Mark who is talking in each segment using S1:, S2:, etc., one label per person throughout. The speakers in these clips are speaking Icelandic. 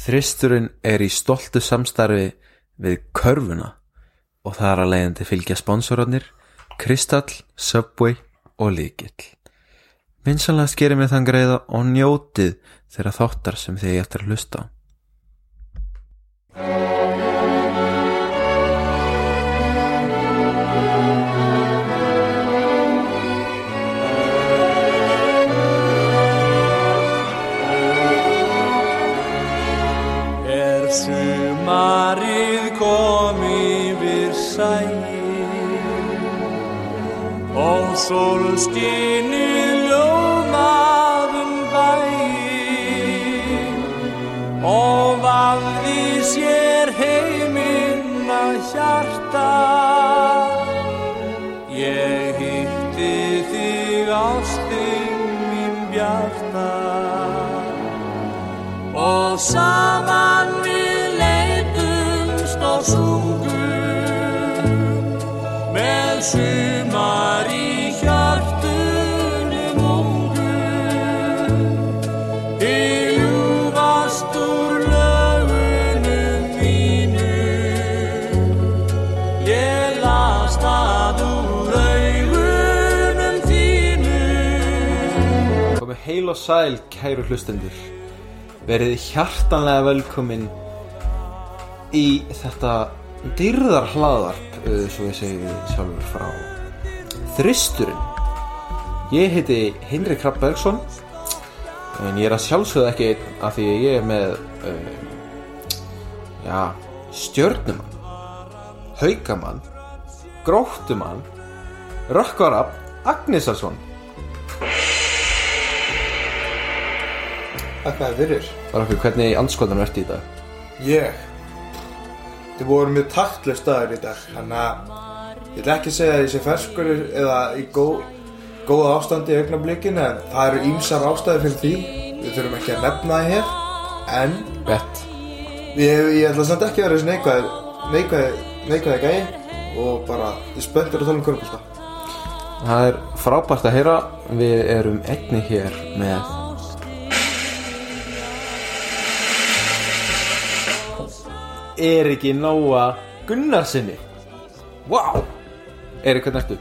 S1: Þristurinn er í stoltu samstarfi við Körfuna og þar að leiðandi fylgja sponsorarnir Kristall, Subway og Líkill. Vinsanlega skerir mig þann greiða og njótið þeirra þáttar sem þið ég eftir að hlusta á.
S2: Er sumarið komið við sæl Og sólskinni ljómaðum bæl Og vafði sér heiminn að hjarta Ég hitti þig ástin mín bjarta og saman við leitumst og sungum með sumar í hjartunum ungum í ljúfast úr lögunum þínum ég las það úr augunum þínum
S1: Komið heil og sæl, kæru hlustendur. Verið hjartanlega velkomin í þetta dyrðar hlaðvarp, uh, svo ég segi sjálfur frá Þristurinn. Ég heiti Henrik Krabb Bergson, en ég er að sjálfsögða ekki einn af því að ég er með, uh, já, stjörnumann, haukamann, gróttumann, rökkvarab, Agnesarsson.
S3: Þakkaði fyrir.
S1: Rökkvi, hvernig í anskotanum ertu í dag?
S3: Ég. Þið voru mjög taktlust aður í dag, þannig að ég ætla ekki að segja að ég sé ferskur eða í góð, góða ástandi í augnablikinu, en það eru ýmsar ástæði fyrir því. Við þurfum ekki að nefna það hér, en
S1: Bett
S3: ég, ég ætla samt ekki að vera þessi neikvæði, neikvæði, neikvæði gæi og bara, ég er spenntur að tala um körpulta.
S1: Það er frábært að heyra Við erum einni hér með Eriki Nóa Gunnarsinni Vá wow. Erik, hvernig ertu?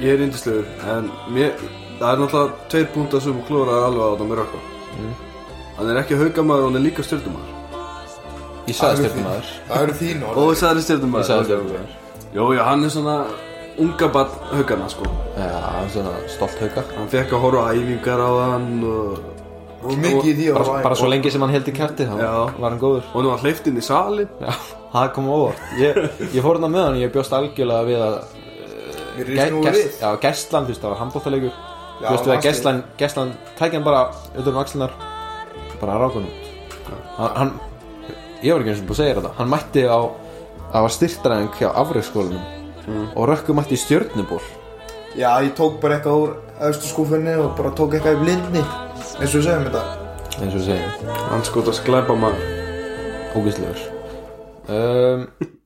S4: Ég er yndislegur, en mér, það er náttúrulega tveir púntar sem klóraðar alveg á þetta með rökkva.
S1: Mm.
S4: Hann er ekki haugamaður, hann er líka stjórnumaður.
S1: Ég sagði stjórnumæður
S3: Það eru þín orð.
S4: Og það er stjórnumaður.
S1: Ég sagði stjórnumæður
S4: Jó, já, hann er svona unga barn haugana, sko.
S1: Já, hann er svona stolt hauka
S4: Hann fekk að horfa á æfingar á hann og...
S3: Og mikið í því að
S1: bara, bara svo lengi sem hann heldur kæfti þá
S4: Já.
S1: var hann góður
S4: Og nú hann hleyft inn í salin.
S1: Já, það kom á óvart Ég, ég fór hann með hann, ég bjóst algjörlega við að
S3: Mér
S1: Ge-
S3: er nú
S1: gest-
S3: við.
S1: Já, gæstlan, þú veist, það var handbóttalegur
S3: Já,
S1: Þú veist, við að
S3: landsleik.
S1: gæstlan, gæstlan tækja hann bara auðvitað um axlunar bara að ráka hann út hann, hann, ég var ekki eins og búið að segja þér þetta hann mætti á, það var styrtaræðing hjá afreiksskólanum
S3: Mm.
S1: og rökku mætti í stjörnuból
S3: Já, ég tók bara eitthvað úr östu skúfunni og bara tók eitthvað í blindni, eins og við segjum þetta.
S1: eins og við segjum,
S4: Hann sko, skot að sklæpa maður.
S1: ógislegur um,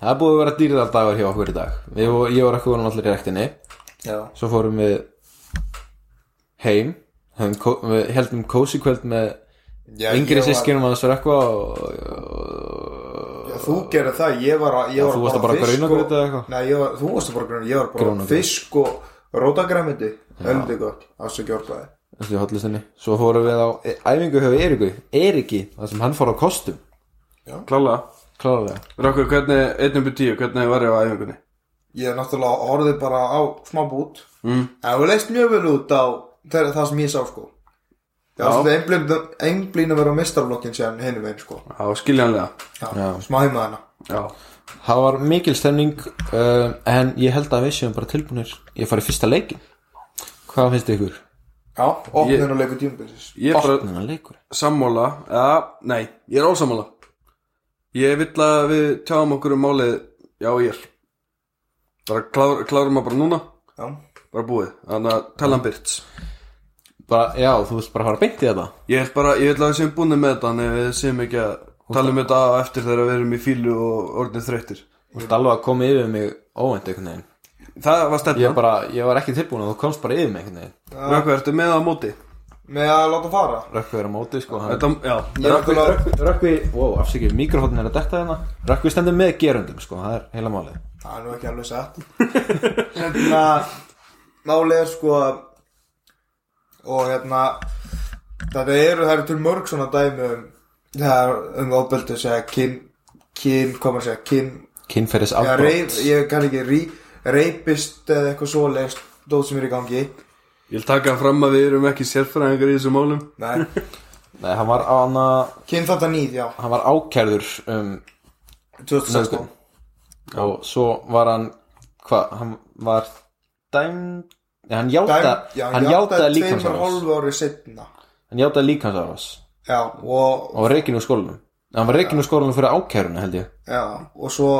S1: Það er búið að vera dýrðardagur hjá okkur í dag Við, Ég var ekki vonum allir í rektinni
S3: Já.
S1: svo fórum við heim höfum kó- við heldum kósi kvöld með
S3: Já,
S1: yngri
S3: ég var-
S1: sískinum að þessu rekva og,
S3: Já, þú gerði það, ég var að ég
S1: Já,
S3: var
S1: þú varst að bara
S3: fisk
S1: gruna grjót
S3: og-
S1: eða eitthvað?
S3: Nei, ég var, þú varst að bara gruna, ég var bara
S1: Grjóna grjót.
S3: fisk og rótagræmiti Öldi gott, afsækja orðbæði
S1: þessu hóllustinni svo fórum við á e- æfingu hjá Eiríku Eiríki, þar sem hann fór á kostum
S4: Klála.
S1: klárlega
S4: Rökkva, hvernig, 1 upp í 10, hvernig hefur verið á æfingunni?
S3: Ég náttúrulega horfði bara á smá bút mm. En þú leist mjög vel út á það, það sem ég sá sko
S4: Já.
S3: Það var svolítið einblín að vera á mistarflokkin sér hinum einn sko
S4: Já, skiljanlega.
S3: Já,
S1: Já.
S3: smá heima hana
S4: Já.
S1: það var mikil stemning um, en ég held að við séum bara tilbúinir ég fari fyrsta leikin hvað finnst ykkur?
S3: Já, opnun og leikur tímabilsis
S4: Ég er bara
S1: opnuna leikur
S4: sammála, eða, nei, ég er ósammála. Ég vill að við tjáum okkur um málið, já, ég er. Bara klár, klárum að bara núna,
S3: Já,
S4: bara búið, þannig að tala um byrts.
S1: bara, já, þú vilt bara fara beint í þetta
S4: Ég vil bara, ég vil að við séum búinir með þetta, en við séum ekki að tala um þetta á eftir þegar við erum í fílu og orðin þreyttir.
S1: þú vilt alveg að koma yfir mig óvænt einhvern veginn
S4: Það var
S1: ég,
S4: stefnan.
S1: bara, ég var ekki tilbúin að þú komst bara yfir mig einhvern veginn
S4: Rökkvæ, ertu með á móti?
S3: með að láta fara
S1: Rökkvi er á móti sko hann-
S4: Þetta, já,
S1: Rökkvi,
S3: náttúrulega-
S1: Rökkvi, Rökkvi, wow, afsakið, mikrohóttin er að detta hérna Rökkvi stendur með gerundum sko, það er heila málið
S3: það er nú ekki alveg satt hérna málið er sko að- og hérna þetta eru, það eru til mörg svona dæmi um, það er um ofbeldi segja kyn, kyn, koma að segja kyn
S1: Kynferðis
S3: Já,
S1: afbrot
S3: reyp, ég kann ekki rí, reypist eða eitthvað svoleiðist dót sem er í gangi
S4: ég vil taka fram að við erum ekki sérfræðingar í þessum málum
S3: Nei,
S1: Nei, hann var, anna,
S3: kynþátt að nýð, já
S1: hann var ákærður um
S3: 2016
S1: Nauðgun. og svo var hann hvað, hann var dæm Nei, hann játa,
S3: Dæm- já,
S1: hann játa
S3: tveimur
S1: líkansarás
S3: hálfu ári setna
S1: hann játa líkansarás
S3: Já, og,
S1: og var reikinu úr skólanum hann var reikinu úr skólanum fyrir ákæruna held ég
S3: já, og svo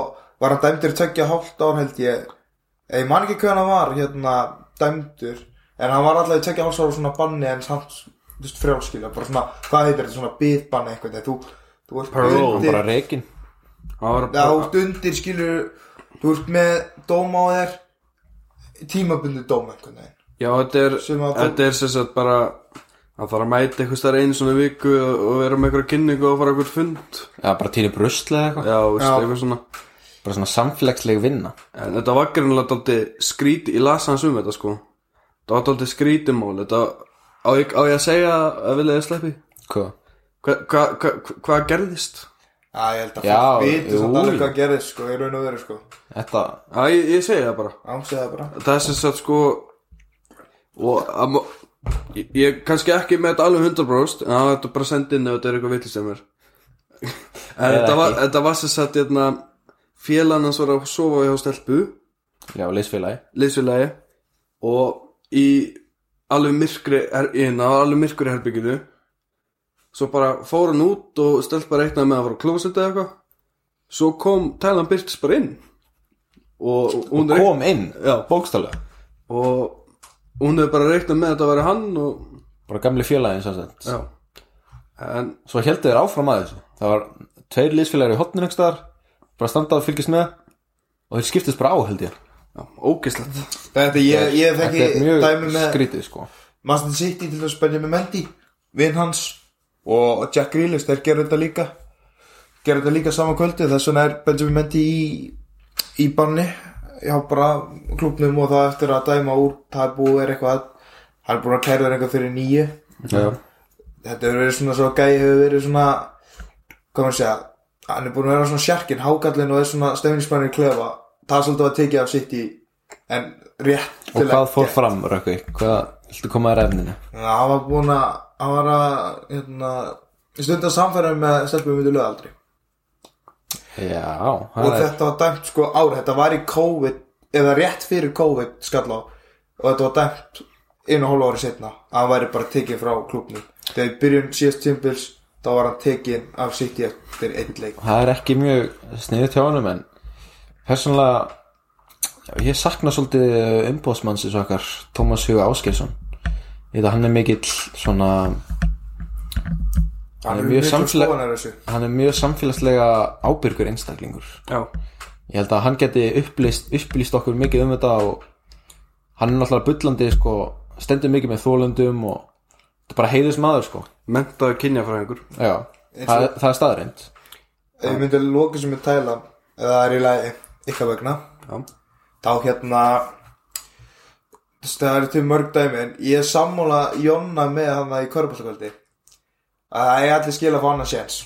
S3: var hann dæmdur í tveggja hálft ár held ég Ég man ekki hvernig hann var hérna dæmdur En hann var alltaf í tveggja hálft ára svona banni en samt þú veist, frjálskilja Bara svona, hvað heitir þetta, svona bitbanni eitthvað þegar Þú, þú ert
S4: Parole,
S1: hann
S3: undir
S1: bara reikin
S4: það var
S3: Já, þú ert undir skilur Þú ert með dóma á þér Tímabundu dóma einhvern veginn
S4: Já, þetta er,
S3: Sem að-
S4: þetta er sem sagt bara að fara að mæta eitthvað stær einu svona viku og vera með eitthvað kynningu og fara eitthvað fund
S1: eða bara týri brustlega eitthvað
S4: Já, veist,
S3: Já.
S4: eitthvað svona
S1: bara svona samfélagsleg vinna
S4: En þetta var greinlega dálítið skríti, ég las hans um þetta sko Þetta var dálítið skrítimál, þetta á ég, á ég að segja að vilja þið sleppi?
S1: hvað?
S4: Hvað hva, hva, hva, hvað gerðist?
S3: Já, ég held að
S1: Já,
S3: fólk viti
S1: jú,
S3: samt alveg
S1: jú.
S3: hvað gerðist sko, í raun og veru sko
S1: þetta,
S4: Já, ég, ég segi það bara
S3: Ámsið það bara
S4: Það er sem sagt sko og að mo- ég, ég er kannski ekki með þetta alveg 100% en það var þetta bara að senda inn ef þetta er eitthvað vitlis sem er en
S1: Eða
S4: þetta var,
S1: ekki.
S4: þetta var sem sagt hérna, félan hans var að sofa hjá stelpu
S1: já, leysfélagi
S4: liðsfélagi og í alveg myrkri her- í hérna, alveg myrkri herbygginu svo bara fór hann út og stelpa reiknaði með að fara að klósa eða eitthvað svo kom Tælan Byrtis bara inn og, og hún reiknaði
S1: kom inn,
S4: Já.
S1: bókstálega
S4: og hún hefði bara reiknað með að þetta væri hann og
S1: bara gamli félagin sannsett
S4: já en
S1: svo heldur þeir áfram að þessu það var tveir liðsfélagar í hotninu einhverstaðar bara standað og fylgist með og þeir skiptist bara á held ég
S4: já, ógeðslegt
S3: Þetta ég, ég
S1: þetta er
S3: þekki
S1: mjög
S3: dæmi með
S1: skrítið sko
S3: Manchester City til þess Benjamin Mendy Vinn hans og Jack Grealish Þeir gerðu þetta líka Gerðu þetta líka sama kvöldi Þess vegna er Benjamin Mendy í, í banni Já, bara klubnum og það eftir að dæma úr Það er búið er eitthvað Hann er búin að kæra þér eitthvað fyrir nýju
S1: já,
S3: Þetta hefur verið svona svo gæi hefur verið svona Hvað maður segja Hann er búin að vera svona sjarkinn, hákallinn og er svona stefnismannir í klefa Það er svolítið að tekið af sitt í En rétt
S1: og hvað fór fram Rökkvi hvað viltu koma að refninu
S3: Þannig að hann var búin að hann var að hérna, stunda samfæra með stelpum við lögaldri
S1: já,
S3: og
S1: það er
S3: þetta var dæmt sko ára þetta var í COVID eða rétt fyrir COVID skall á og þetta var dæmt einu og hólu ári setna að hann væri bara tekið frá klubnum þegar í byrjun síðast tímpils þá var hann tekin af City eftir einn leik
S1: það er ekki mjög sniðið hjá honum en persónlega já, ég sakna svolítið eh, umbóðsmannsins okkar Tómas Huga Áskilsson ég veit að hann er mikill svona
S3: hann
S1: er
S3: er
S1: mjög
S3: mjög
S1: samfélag-
S3: skoðanar þessu
S1: hann er mjög samfélagslega ábyrgur einstaklingur
S4: já,
S1: ég held að hann geti upplýst, upplýst okkur mikið um þetta og hann er náttúrulega bullandi sko, stendur mikið með þólendum og þetta er bara heiðis maður sko
S4: mentaði kynjafræðingur
S1: já, það, það er staðreind
S3: ef ég myndi loka sem ég tæla eða það er í lagi ykkar vegna
S4: já,
S3: þá hérna þess- það eru til mörg dæmi en ég er sammála Jonna með hann í Körbáskvöldi að það er allir skil að fá annað séns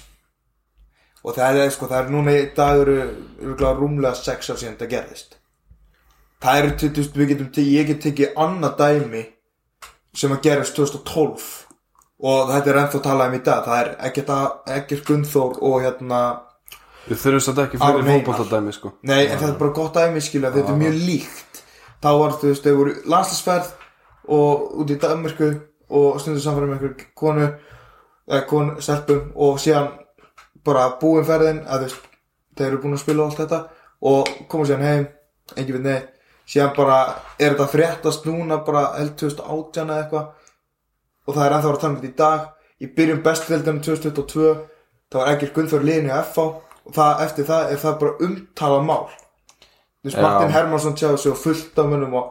S3: og það er sko það er núna í dag eru, eru rúmlega sex ár síðan þetta gerðist það eru til, þú veist, við getum til, ég get tekið annað dæmi sem að gerist 2012 og þetta er ennþá talað um í dag það er ekkert, að- ekkert Gunnþór og hérna
S4: við þurfum satt ekki
S3: Aron
S4: fyrir
S3: Einar.
S4: fótboltadæmi sko
S3: Nei, en þetta er bara gott dæmi skilja, þetta er mjög líkt Þá var þú veist, þau voru landslisferð og út í Danmarku og stundu samfæra með einhver konu eða konu, stelpum og síðan bara búin ferðin að þú veist, þau eru búin að spila allt þetta og koma síðan heim, engin veit nei síðan bara, er þetta að fréttast núna bara held 2018 eða eitthvað og það er ennþá að tala um þetta í dag í byrjun bestveldum 2022 það var ekkert Gunnþór liðinu í FH og það, eftir það er það bara umtala mál þú veist,
S1: Já.
S3: Martin Hermansson tjáði sig og fullt af munum og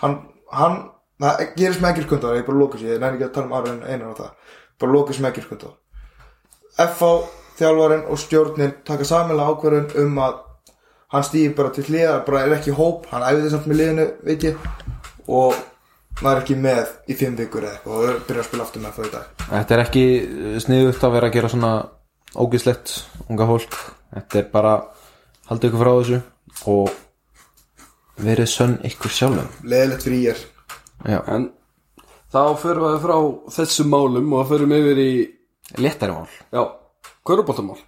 S3: hann, hann það gerist með ekkirkundar ég bara lóka sér, ég næri ekki að tala um aðra en einan á það bara lóka sér með ekkirkundar FH, þjálfarinn og stjórnin taka samanlega ákvörðun um að hann stýði bara til hliðar bara er ekki í hóp, hann æfði samt með liðinu veit ég, og maður er ekki með í fimm vikur eða eitthvað og byrja að spila aftur með FH í dag
S1: Þetta er ekki eh, sniðugt að vera að gera svona ógislegt unga fólk Þetta er bara haldið ykkur frá þessu og verið sönn ykkur sjálfum
S3: leðilegt fyrir ég
S1: Já,
S4: En þá förum við frá þessum málum og förum yfir í,
S1: léttari mál
S4: já, köruboltamál.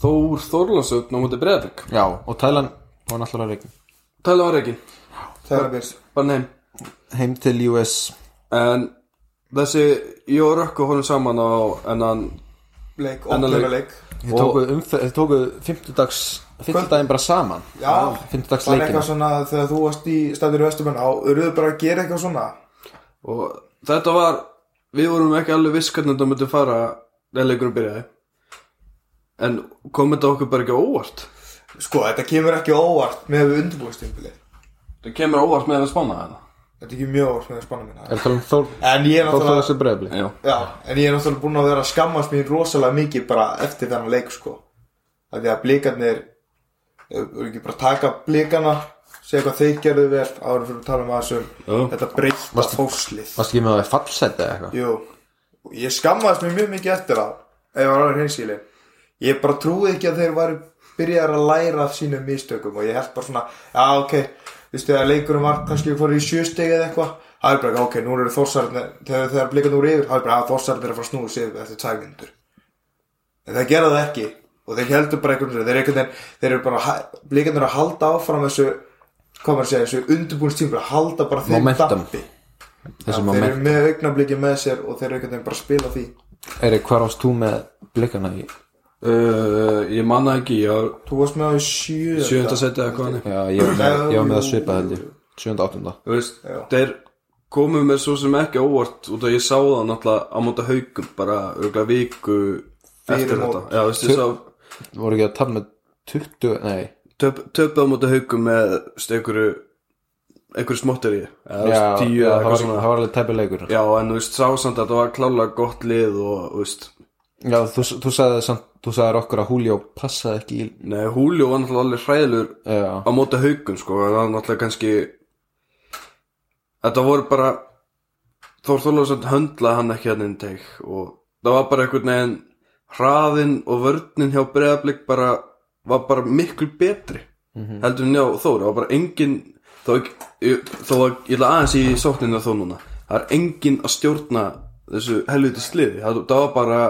S4: Þór Þórlansöfn á múti Breiðabrik.
S1: Já, og tælan var náttúrulega reikin
S4: Tæla var ekki,
S3: það er að byrja
S4: bara neim.
S1: Heim til US
S4: En þessi, ég og Rökku horfum saman á ennan,
S3: leik,
S4: Annar leik.
S3: opnara leik
S1: Þið tókuð umfer- þið tókuð fimmtudags fimmtudaginn bara saman
S3: já, var
S1: fimmtudagsleikina.
S3: eitthvað svona þegar þú varst í staðir vestumenn á, eruðu bara að gera eitthvað svona
S4: og þetta var, við vorum ekki alveg viss hvernig þetta myndi fara þegar leikunum byrjaði. En kom þetta okkur bara ekki á óvart?
S3: sko, þetta kemur ekki á óvart með við undirbúðstímbili
S4: Það kemur á óvart með að spána þetta.
S3: þetta er ekki mjög óvart með spanna
S1: Er
S3: minna
S1: það um Þór
S3: en ég er
S1: Þór
S3: náttúrulega
S1: Þór Breiðablik?
S4: Já.
S3: já, en ég er náttúrulega búin að vera að skammast mér rosalega mikið bara eftir þennan leik sko, af því að blikarnir eru ekki bara að taka blikana segja hvað þeir gerðu vel áður fyrir að tala um aðeins um þetta breyta fóslið
S1: Varst ekki með það í fallseti eða eitthvað?
S3: Jú, og ég skammaðist mér mjög mikið eftir það ef ég var alveg hinsíli ég bara trúi ekki að þeir væri byrjar að læra af sínum mistökum og ég held bara svona, já ok viðstu að leikurum var kannski fór í sjösteg eða eitthvað það er bara, ok, nú eru þórsarðin þegar þegar blikan úr yfir, það er bara að þórsarðin er að fara að snúið sig eftir tægmyndur en það gera það ekki og þeir heldur bara einhvern veginn, þeir, eru einhvern veginn, þeir eru bara blikan eru að halda áfram þessu hvað maður að segja, þessu undirbúinstímpil halda bara þeim
S1: Momentum.
S3: dampi Já,
S1: Þessi
S3: þeir
S1: moment
S3: eru með augnabliki með sér og þeir eru einhvern veginn bara að spila því
S1: Eri, hvar varst þú með blikana í?
S4: Uh, ég manna ekki, ég var
S3: Þú varst með á í sjö
S4: sjönda setið eða hvað hann er.
S1: Já, ég var með, ég var með að svipa held ég 7. 8.
S4: Þú veist,
S3: Já.
S4: þeir komu með svo sem ekki óvart út að ég sá það náttúrulega á móta haugum bara örgulega viku
S3: Fyrir
S4: eftir
S3: mót.
S4: þetta Já, þú veist, ég sá
S1: Voru ekki að tala með 20, nei
S4: töp, töpuð á móta haugum með þú veist, einhverju einhverju smottir í
S1: Já,
S4: tíu
S1: já, það,
S4: eða eitthvað
S1: var,
S4: svona
S1: það var alveg tæpi leikur Já,
S4: Já, en þú veist, sá samt að þetta var klálega gott lið og, þú veist,
S1: þú, þú sagði samt, þú sagði okkur að Julio passaði ekki í
S4: nei, Húljó var náttúrulega alveg hræðilur
S1: Já,
S4: á móta haugum, sko, en það var náttúrulega kannski þetta voru bara Þór Þorlásson höndlaði hann ekki hann innteg og það var bara einhvern veginn hraðin og vörnin hjá breyðablík bara, var bara miklu betri heldur en já Þór, það var bara engin þó, ég- þó að ég ætla aðeins í sókninu þó núna, það er engin að stjórna þessu helviti sliði það, það var bara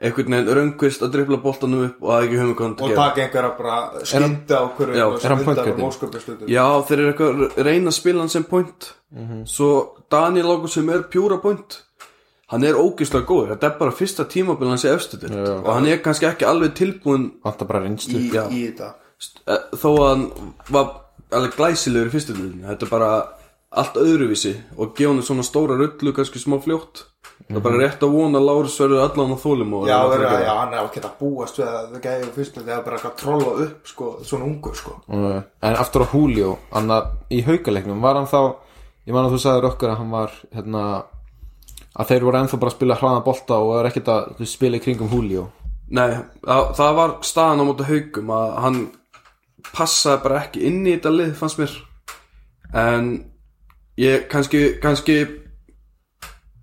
S4: einhvern veginn röngvist að drifla boltanum upp og að ekki höfum hvað hann
S3: og taka einhverja bara skynda á hverju
S4: Já,
S3: og
S1: er hann
S3: stunda
S1: pointguardinn?
S3: um ósköpum hlutum.
S4: Já, þeir eru eitthvað að reyna að spila hann sem point
S3: Mhm.
S4: Svo Daniel Águr sem er pjúra point Hann er ógeðslega góður Þetta er bara fyrsta tímabil hans í efstudild
S1: Já.
S4: Og hann er kannski ekki alveg tilbúin
S1: vantar bara reynstu
S3: í,
S1: í...
S4: Já.
S3: í þetta
S4: st- eh, Þó að hann var alveg glæsilegur í fyrstudildinu Þetta er bara allt öðruvísi Og gefa hann svona stóra rullu kannski smá fljótt Það er bara rétt að vona að Lárus verður allan á þólum og
S3: Mhm. Já,
S4: og-
S3: verið, að- já, hann er ákveðt að búast við að það gæði og fyrst að það er bara eitthvað að trolla upp sko, svona ungur sko.
S1: Eh, En aftur á Julio, annar í haukaleiknum Var hann þá, ég man að þú sagði okkur að hann var hérna, að þeir voru ennþá bara að spila hraðan bolta og er ekkert að þú spila í kringum Julio
S4: Nei, það, það var staðan á móti haugum að hann passaði bara ekki inn í þetta lið fannst mér en ég kannski, kannski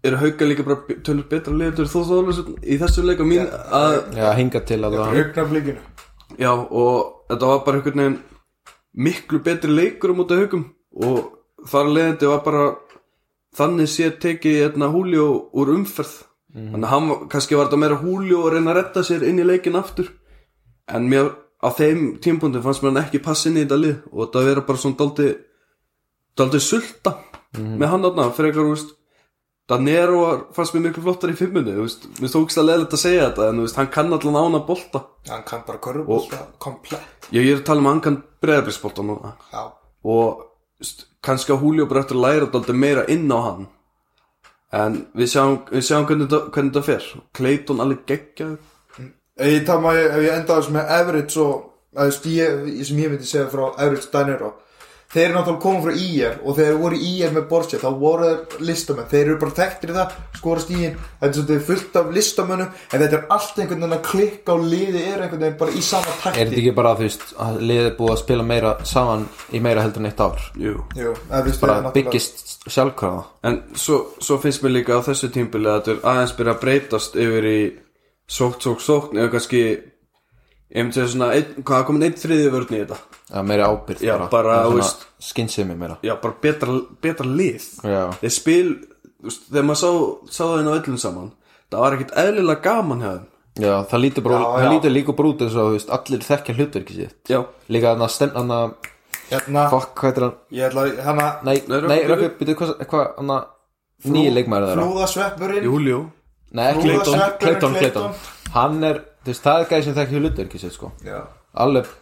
S4: eru hauga líka bara tölur betra lið þú þóðlega í þessu leika mín að,
S1: Já, hinga til að það
S3: Augnablíkinu
S4: já og þetta var bara einhvern veginn miklu betri leikur á móti haugum og þar leðandi var bara þannig sé tekið hérna Húljó úr umferð þannig að hann var- kannski var þetta meira Húljó að reyna að redda sér inn í leikin aftur en mér á þeim tímpundum fannst mér hann ekki passa inn í þetta lið og þetta vera bara svona daldi daldi sulta með hann aðna frekar úrst Danero var- fannst mér miklu flottar í fimmunni þú veist, mér tókst að leðilegt að segja þetta en þú veist, hann kann allan ána bolta
S3: hann kann bara körubólta komplett
S4: ég, ég er að tala um að hann kann breyðarbrísbolta núna
S3: já,
S4: og st- kannski að Julio bara eftir að læra dálítið meira inn á hann en við sjáum, við sjáum hvernig, þetta- hvernig þetta fer Clayton alveg geggjað
S3: Ég tala maður ef ég enda þess með average og eða þú veist, ég, sem ég myndi segja frá average Danero þeir eru náttúrulega komið frá IR og þeir voru í IR með Borja þá voru þeir listamenn, þeir eru bara þekktir í það skora stíðin, þetta er svolítið fullt af listamönnum en þetta er allt einhvern veginn að klikka og liði er einhvern veginn bara í sama
S1: Er þetta
S3: takti
S1: ekki bara, þú veist, að liðið er búið að spila meira saman í meira heldur en eitt ár?
S4: Jú.
S3: Jú, hérna en við
S1: Bara byggist sjálfkrafa.
S4: En svo, svo finnst mér líka á þessu tímbili að þetta er aðeins byrja að breytast yfir í sótt, sótt, sótt eða kannski einmitt þessi svona, ein, hvað er komin einn þriði vörn í þetta?
S1: Eða meira ábyrgð
S4: Já, bara,
S1: En
S4: þú
S1: svona
S4: veist-
S1: Skynsemi meira.
S4: Já, bara betra, betra lið
S1: Já.
S4: Þeir spil, þú veist, þegar maður sá, sá það inn á öllum saman það var ekkert eðlilega gaman hjá þeim
S1: Já, það lítur, bara,
S3: Já,
S1: það
S3: já.
S1: lítur líka bara út eins og, þú veist, allir þekkja hlutverki sitt.
S4: Já,
S1: Líka hann að stend, hann að,
S3: hérna,
S1: fuck, hvað er hann?
S3: ég ætla hérna, að hana,
S1: Nei,
S4: Nei,
S1: nei,
S4: Rökkvi,
S1: rökkur, byrju, hvað, hvað, hann að nýja leikmæri þeirra?
S3: flúðasveppurinn
S4: Júljó
S1: Nei, ekki
S3: Flúða
S1: Clayton,
S3: sveppurinn,
S1: Clayton,
S3: Clayton.
S1: Clayton. Hann er, þú veist, það er gæði sem þekkja hlutverki sitt, sko.
S3: Já.
S1: Alveg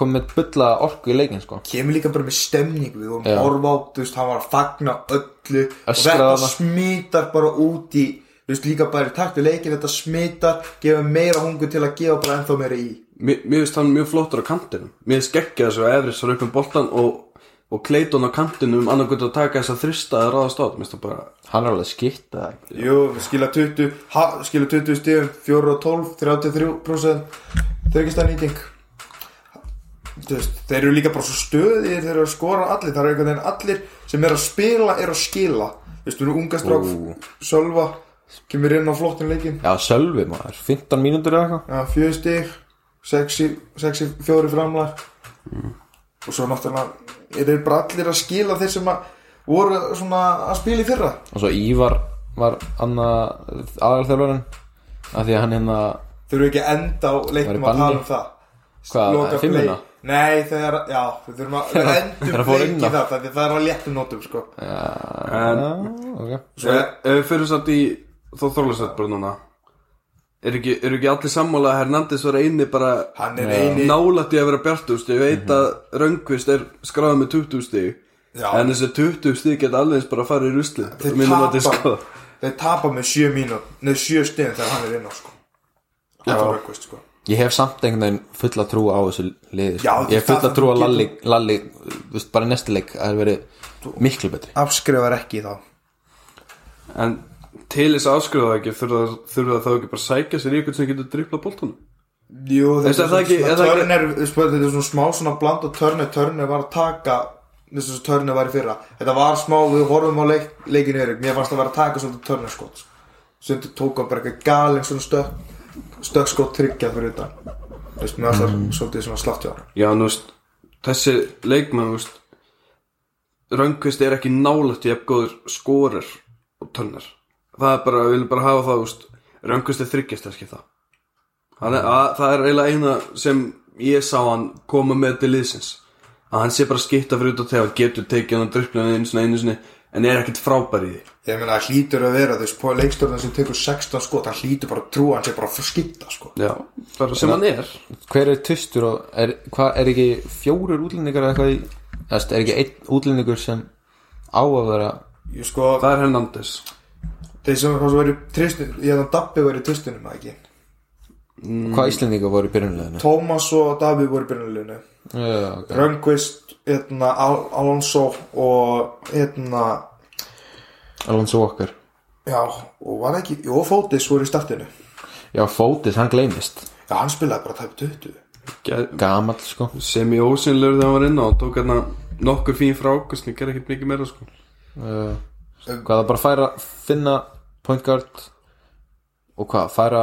S1: kom með bulla orku í leikin, sko.
S3: kemur líka bara með stemning við vorum
S1: Já.
S3: að horfa á, þú veist, hann var að fagna öllu og
S1: Öskraði
S3: þetta
S1: hana.
S3: smítar bara út í þú veist, líka bara í takt við leikin, þetta smítar gefa meira hungur til að gefa bara ennþá meira í
S4: Mér mér finnst hann mjög flottur á kantinum Mér finnst geggja þessu að Efris var upp um boltan og, og Clayton á kantinum annar gott að taka þess að þrista að ráðast á þetta, mér finnst það bara
S1: Hann er alveg skitt að
S3: Jú, við skila 20 ha, skila 20 stíðum, 4 og 12 33% þryggistarnýting þú veist, þeir eru líka bara svo stöðir þeir eru að skora allir, það eru einhvern veginn allir sem er að spila, er að skila þú veist, þú eru unga strák,
S1: Ú.
S3: Sölva kemur inn á flottin leikin
S1: Já, Sölvi maður, 15 mínútur eða eitthvað
S3: Já, fjögur stig, sexi, sexi fjóri framlag
S1: Mm.
S3: og svo náttúrulega er þeir bara allir að skila þeir sem að voru svona að spila í fyrra
S1: Og svo Ívar var aðalþjálfurinn Af því að hann hérna
S3: þeir eru ekki að enda á
S1: Var í
S3: leiknum að
S1: banni?
S3: tala um það
S1: Hvað, fimmuna?
S3: play. Nei, þegar, já, við þurfum að við
S1: Þegar að
S3: endum
S1: fóra
S3: leik
S1: inn á.
S3: í það það, það er á léttum nótum, sko
S4: En
S1: Já, ok
S3: Svo
S4: Ef ef við fyrir samt í þó þorlásett bara núna er ekki, er ekki allir sammála að Hernandez var eini bara
S3: hann er eini Mhm.
S4: nálætti að vera bjartust ég veit að Röngvist er skráð með 20 stig
S3: Já.
S4: en þessi 20 stig geta alveg eins bara að sko. fara í rusli
S3: þeir tapa,
S1: sko.
S3: þeir tapa með sjö mínút, neð sjö stigum þegar hann er inn á, sko hann er rökkvist, sko
S1: Ég hef samt einhvern veginn fulla trú á þessu liði sko.
S3: Já,
S1: Ég hef fulla
S3: það-
S1: trú á
S3: getum-
S1: Lalli, Lalli þú veist, bara í næsta leik að það er verið miklu betri
S3: afskrifar ekki þá
S4: en til þess að afskrifa það ekki þurfa, þurfa þá ekki bara að sækja sér í ykkur sem getur driplað boltanum
S3: Jú, þetta
S4: Veistu,
S3: er
S4: það ekki-
S3: svona
S4: er það ekki-
S3: törnir, þetta er svona smá svona bland og törnir, törnir var að taka þess að törnir var í fyrra þetta var smá, við horfum á leik, leikinu Eirik mér fannst það var að taka svolítið törnir skot sem þetta tók að bara eitthvað galin svona stökk stökk skot tryggja fyrir þetta veist, mér fannst það
S4: Mm.
S3: svolítið svona slaft hjá honum.
S4: já, nú veist, þessi leikmann veist, Röngvist er ekki nálætti ef góður skorir og tönnar það er bara, við viljum bara hafa það veist, Röngvist er þryggjast að skipta hann er, að, það er eiginlega eina sem ég sá hann koma með til liðsins að hann sé bara að skipta fyrir út og þegar hann getur tekið hann driplinu einu sinni, einu sinni en er ekkert frábær í því
S3: ég meina, það hlýtur að vera þess leikstörðan sem tekur 16 skot hann hlýtur bara að trúa, hann sé bara að skipta sko.
S4: já, bara sem hann er
S1: Hver er tustur og, er, hvað, er ekki fjórir útlendingar eða eitthvað í Æst, Er ekki einn útlendingur sem á að vera
S3: ég sko,
S4: það er Hernandez
S3: þeir sem hvað svo verið tristin, ég hefði hann Dabbi verið tristinum ekki,
S1: Hvað Íslendingar voru í byrjunleginu?
S3: Tómas og Dabbi voru í byrjunleginu
S1: Já, ok
S3: Röngvist, hérna, Al Alonso og hérna,
S1: Alonso Walker
S3: já, og var ekki, jú, Fótis voru í startinu.
S1: Já, Fótis, hann gleymist
S3: Já, hann spilaði bara tæp 20.
S4: Gæ-
S1: Gamall, sko
S4: sem ég ósynlegur þegar hann var inn á og tók hérna nokkur fín frákust en gerði ekkert mikið meira sko
S1: uh, hvað það bara færa finna point guard og hvað, færa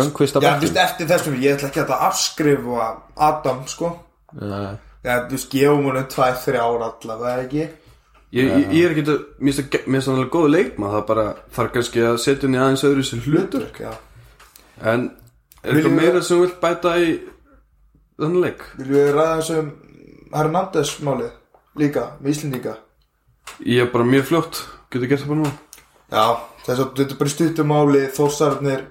S1: röngvist að
S3: Já,
S1: bættum
S3: vist, eftir þessum, ég ætla ekki að þetta afskrifa Adam, sko.
S1: Nei.
S3: Já, þú veist, gefum honum 2-3 ára allavega, ekki?
S4: ég, ég, ég er ekki að, mér finnst það- mér finnst það alveg góð leikma það bara þarf kannski að setja henni aðeins öðru sér hlutur
S3: Já.
S4: en er
S3: Viljum
S4: eitthvað
S3: við-
S4: meira sem vilt bæta í þannig leik
S3: Viljum við ræða þessum Hernandez-málið líka, með Íslendinga?
S4: ég er bara mjög fljótt, getur gert það bara nú
S3: Já, þess að þetta er bara stuttum máli Þórsarnir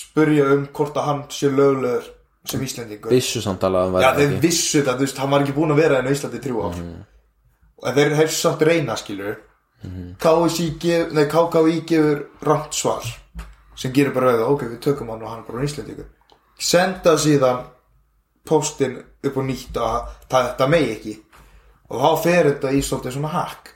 S3: spurja um hvort að hann sé löglegur sem Íslendingur.
S1: vissu samtala að hann
S3: Já,
S1: væri
S3: þeir
S1: ekki. Mhm.
S3: vissu þetta, þú veist, hann var ekki búin að vera en á Íslandi í þrjú ár En þeir hefðu samt reyna, skilur
S1: Mhm.
S3: KSI gef, nei, KKI gefur rangt svar sem gerir bara auðvitað, ok, við tökum hann og hann er bara á Íslandi Senda síðan postin upp og nýtt að það þetta megi ekki og þá fer þetta í svolítið svona hakk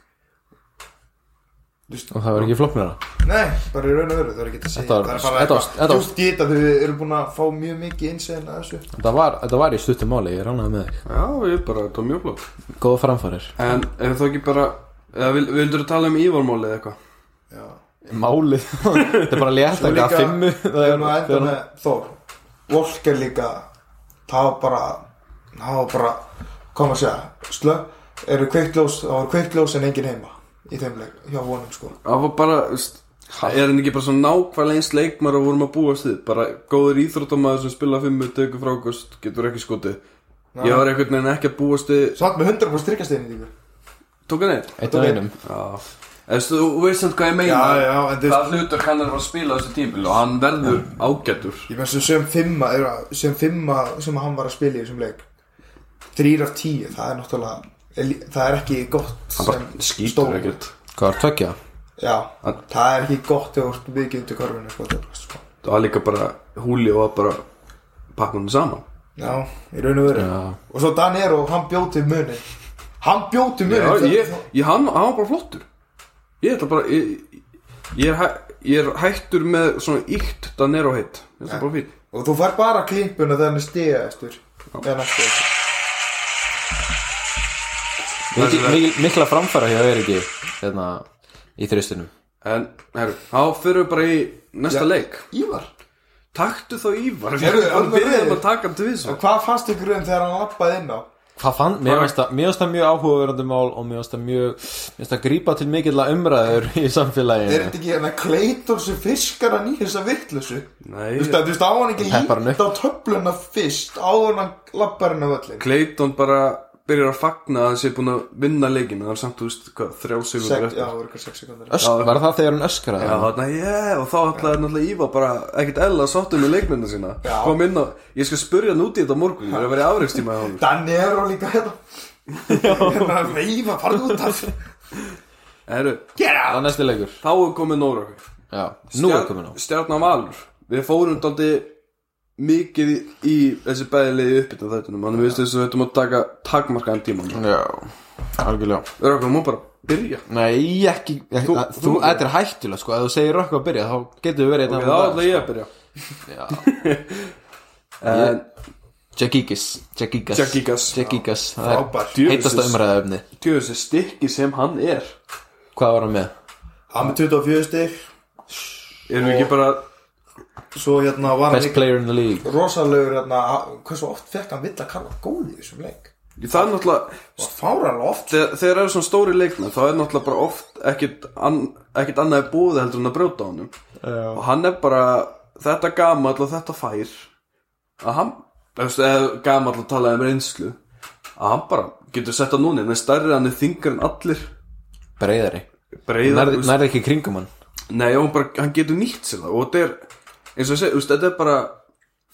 S1: og það var ekki flóknara
S3: Nei, bara í raun og veru, það er ekki að segja
S1: Þetta var-
S3: Það er
S1: þetta
S3: bara
S1: var- þetta var-
S3: eitthvað djúft í þetta þegar við erum búin að fá mjög mikið innsæðin að þessu
S1: þetta var, þetta var í stuttum máli, ég ránaði með þig
S4: Já, ég er bara, þetta var mjög flott
S1: góða framfærir
S4: En er það ekki bara eða vil, vildur tala um ívarmálið eða eitthvað?
S3: Já
S1: málið, þetta er bara létt
S3: Svo
S1: að gaf fimmu
S3: við erum að enda með Þór Volker líka það var bara það var bara, kom að segja slö, eru kveiktljós, það var kveiktljós en engin heima í þeim leik, hjá vonum sko
S4: Það var bara, veist, er hann ekki bara svona nákvæmlega eins leikmar að vorum að búast við bara góður íþróttamaður sem spila fimmu tegur frákust, getur ekki skotið Ég var einhvern veginn ekki að búast við
S3: samt með 100% tryggasteinni líka
S4: Tók hann eitt?
S1: eitt af einum
S4: Já En þú þú veist samt hvað ég meina
S3: en þú veist
S4: Það hlutur hann er að fara að spila á þessu tímil og hann verður ágætur
S3: ég menn sem sem fimma, eru að- sem fimma sem hann var að spila í þessum leik þrýr af tíu, það er náttúrulega er lí- það er ekki gott
S4: Hann bara
S3: sem
S4: skýtur
S3: stór-
S4: ekkert
S1: hvað var tveggja?
S3: já, það er ekki gott þegar þú ert mikið undir korfinu sko, það er sko.
S4: Það var líka bara húli og að bara pakka hann saman
S3: Já, í raun og veru Og svo Dan Ero, hann bjóti munin Hann bjóti
S4: Já,
S3: munin
S4: ég, ég, hann, hann var bara flottur Ég ætla bara Ég, ég, er, hæ, ég er hættur með svona íkt Danero heitt Ég ætla bara fín
S3: Og þú fær bara klimpuna þegar hann er stiga eftir Eða næstu eftir
S1: Mikil, mikil, mikla framfæra hjá Eiriki hérna, í þrjustinum
S4: En, herru, þá fyrir við bara í næsta leik
S3: Ívar
S4: Taktu þá Ívar
S3: Heyrðu,
S4: Við erum
S3: alveg
S4: bara byrjum
S3: við.
S4: að taka hann til því
S3: Og hvað fannst ykkur um þegar hann lappaði inn á?
S1: Hvað fann, mér
S4: Hvað-
S1: finnst það mér finnst það mjög áhugaverandi mál og mér finnst það mjög mér finnst það grípa til mikill umræður í samfélaginu
S3: Er þetta ekki hérna Kleitor sem fiskar hann í þessa vittlusu? Þú veist
S4: Nei
S3: að þú veist á hann ekki
S1: Peppar hann
S3: líkt á töfluna fyrst Áður en hann lappar hann á völlin
S4: Clayton bara byrjar að fagna að hann sé búin að vinna leikina Það er samt, þú veist, hvað, þrjá sigur
S3: Sekt, já, það voru ykkur 6 sekundar
S1: Ösk, var það þegar hún öskraði
S4: Já, þarna, yeah, og þá ætlaði náttúrulega Ívar bara ekkert eðla sáttum með leikmynda sína
S3: Já.
S4: kom inn á, ég skal spurja hann út í þetta á morgun ég er að vera í afreikstíma hjá hann
S3: Dan Ero líka hérna Hérna að reyfa, farðu út af
S4: Heru,
S1: það er næsti leikur
S4: þá er komið nóra
S1: já. nú er komin á
S4: Stjarnan Valur við fórum daldi mikið í, í þessi bæðilegi uppbytta þættunum þannig við veistum þess að við ættum að taka takmarkaðan tíma við
S1: já, algjörlega
S4: erum okkur, múum bara byrja
S1: Nei, ekki, ekki þú,
S4: Þú-
S1: þú,
S4: þú-
S1: þetta er hættulega sko, ef þú segir okkur að byrja þá getur við verið
S4: og
S1: einn
S4: þá
S1: af
S4: ætla ég að byrja en
S1: Jackíkis, Jackíkas
S4: Jackíkas.
S1: Jackíkas, það
S3: Frábær
S1: er heitasta umræðaefni
S4: tjóðu þessi stikki sem hann er
S1: Hvað var hann með?
S3: Hann með 24 stig
S4: erum við ekki bara
S3: Svo hérna var hann
S1: Best player in the league
S3: rosalegur hérna, hversu oft fekk hann vill að kalla góð í þessum leik
S4: það er náttúrulega
S3: fáralega oft
S4: þegar, þegar eru svona stóri leikna þá er náttúrulega bara oft ekkit, an, ekkit annað í búið heldur en að brjóta á honum Já. og hann er bara þetta gamall og þetta fær að hann eftir, eða gamall að tala um reynslu að hann bara getur sett að núna en stærri hann er þingar en allir
S1: Breiðari
S4: breyðar
S1: Nærði nær ekki í kringum hann
S4: nei og hann, bara, hann getur nýtt sér það og þetta er eins og ég segi þú veist, þetta er bara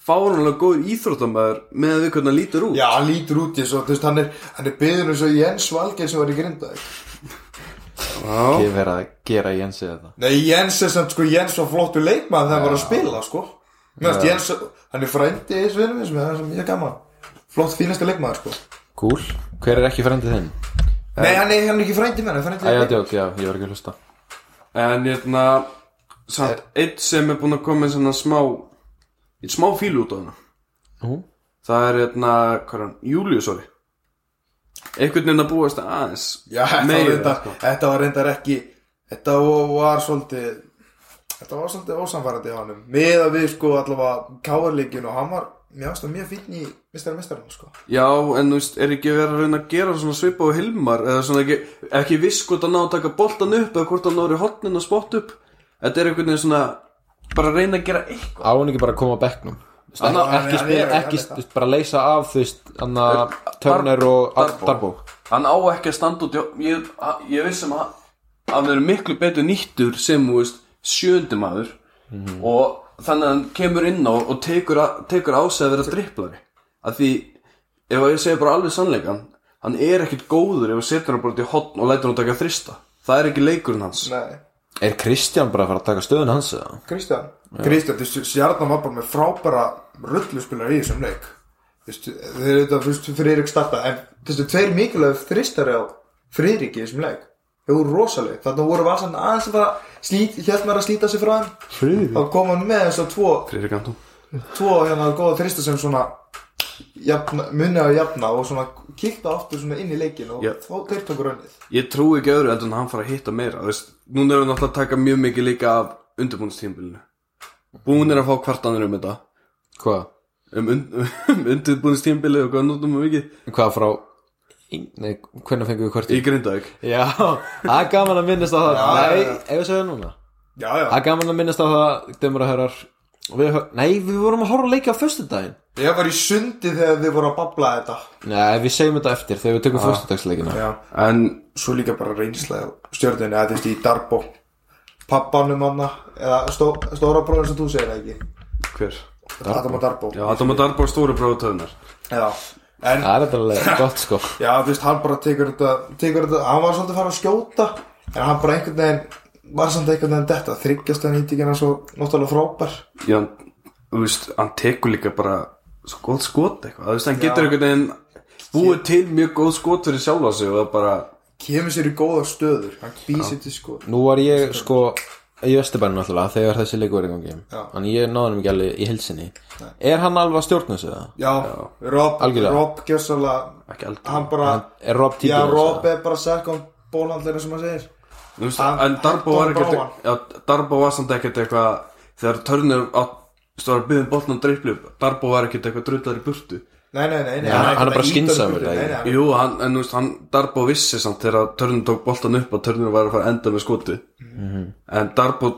S4: fárunlega góð íþróttamæður með að við hvernig hann lítur út
S3: já, hann lítur út í þessu og þú veist, hann er, hann er byður eins og Jens Valgeir sem var í Grindavík
S4: Já.
S1: Ég verið að gera Jensi þetta
S3: nei, Jens er samt, sko, Jens var flottu leikmann þegar hann var að spila, sko Mest, Jens, hann er frændi í þessu vinnum minn sem er sem mjög gaman flott fínasta leikmann, sko
S1: Cool, hver er ekki frændið þinn?
S3: nei, hann er, hann er ekki frændi menn, hann er frændi
S1: Æja,
S3: leikmann.
S1: djók, já, ég var ekki að hlusta
S4: En hérna Samt eitt sem er búinn að koma með svona smá Eitt smá fílu út á hana
S1: Nú?
S4: Það er hérna, hvað er hann, Július orði Einhvern veginn að búast aðeins
S3: já, þetta var
S4: meira,
S3: reyndar,
S4: sko.
S3: þetta var reyndar ekki þetta var, var svolítið þetta var svolítið ósamfærandi á hannum með að við, sko, allavega káarleikjun og hann var, mér ástæð, mjög fínn í mistari mestarinn, sko
S4: Já, en þú veist, er ekki verið að reyna að gera svona svipa á Hilmar Eða svona ekki, ekki viss hvort hann ná að taka boltan upp Eða hvort hann náður í hotnin og spott upp Þetta er einhvern veginn svona Bara að reyna að gera eitthvað
S1: Á hann ekki bara að koma á bekknum Þú veist,
S4: Anna-
S1: Ekki,
S3: Anna-
S1: spila-
S3: Anna-
S1: ekki, ekki bara leysa af þú veist, hann að Turner og
S4: Darbo.
S1: Darbo
S4: Hann á ekki að standa út hjá- Ég, ég vissum að hann verður miklu betur nýttur sem þú veist, sjöndi maður og þannig að hann kemur inn á og tekur, a, tekur á sig að vera dripplari að því ef ég segi bara alveg sannleikan hann er ekkit góður ef þú setur hann bara út í hotn og lætur hann taka þrista það er ekki leikurinn hans
S3: Nei,
S1: Er Kristján bara að fara að taka stöðun hans eða?
S3: Kristján Kristján, þú sérna var bara með frábæra rulluspilar í þessum leik veistu, þeir eru þetta fyrst Friðrik starta en þessu tveir mikilvæg þristari á Friðrik í þessum leik þau voru rosaleg, þannig voru valsan aðeins að fara slít, hjælt maður að slíta sig frá þeim
S4: Mm.
S1: Friðrik?
S3: þá kom hann með þess að tvo
S4: Friðrik Anton
S3: tvo hérna góða þrista sem svona jafna, munna og jafna og svona kikta aftur svona inn í leikin og
S4: Já.
S3: þá þeir tóku rönnið
S4: Ég trúi ekki öðru heldur en að hann fara að hitta meira þú veist, Núna erum við náttúrulega að taka mjög mikið líka af undirbúinstímbilinu Búin er að fá kvartanir um þetta
S1: Hvað?
S4: Um, und, um undirbúinstímbilið og hvað notum við mikið
S1: Hvað frá Nei, hvernig fengum við hvert
S4: Í Grindavík
S1: Já, það er gaman að minnast á það
S3: Já,
S1: Nei,
S3: já, já.
S1: ef við segja núna
S3: já,
S1: Það
S3: já,
S1: er gaman að minnast á það Dömur að herrar við, hö- Nei, við vorum að horfa á leiki á föstudaginn
S3: ég var í sundi þegar þið voru að babla þetta
S1: Nei, við segjum þetta eftir þegar við tökum föstudagsleikina
S3: já.
S4: En
S3: svo líka bara reynsla á stjörnunni að þetta í Darbo pappanum hann eða stó, stóra bróður sem þú segir það ekki
S4: hver?
S3: Adam og Darbo
S4: Já, Adam og Darbo stóru bróðu töðunar
S3: Já. en
S1: Það er þetta alveg gott sko
S3: já, þú veist, hann bara tekur þetta, tekur þetta hann var svolítið að fara að skjóta en hann bara einhvern veginn var samt einhvern veginn þetta þryggjast hann hýttingina svo náttúrulega frábær
S4: Já, hann- þú veist, hann tekur líka bara Svo góð skot eitthvað Þú veist, hann getur
S3: Já.
S4: einhvern veginn Búið til mjög góð skot fyrir sjálfa sig Og það bara
S3: kemur sér í góða stöður hann býsir til sko
S1: Nú var ég sko í Östubænum náttúrulega þegar þessi leikur er í gangi
S3: Já.
S1: Þannig ég náði hann ekki alveg í helsinni Er hann alveg að stjórna þessu það?
S3: já, Rob,
S1: Algjörlega.
S3: Rob gjössalega
S4: Ekki aldrei
S3: hann bara,
S1: Er Rob
S3: já,
S1: típur
S3: Rob er bara second bólhandleira sem hann segir
S4: Þú veist,
S3: Hann-
S4: en Darbo var
S3: Tom Brown.
S4: ekkert já, Darbo var samt ekkert eitthvað þegar törnir stóra byggðin bóttan um og dreiflu Darbo var ekkert eitthvað drullar í burtu
S3: nei, nei, nei, nei
S1: Já, hann er bara
S3: ekkert að ýta
S1: skynsamur,
S3: honum fyrir-
S1: eða
S3: nei, nei,
S4: Jú, hann, en þú veist, hann Darbo vissi samt þegar törnir tók bóttan upp að törnir var að fara að enda með skoti en Darbo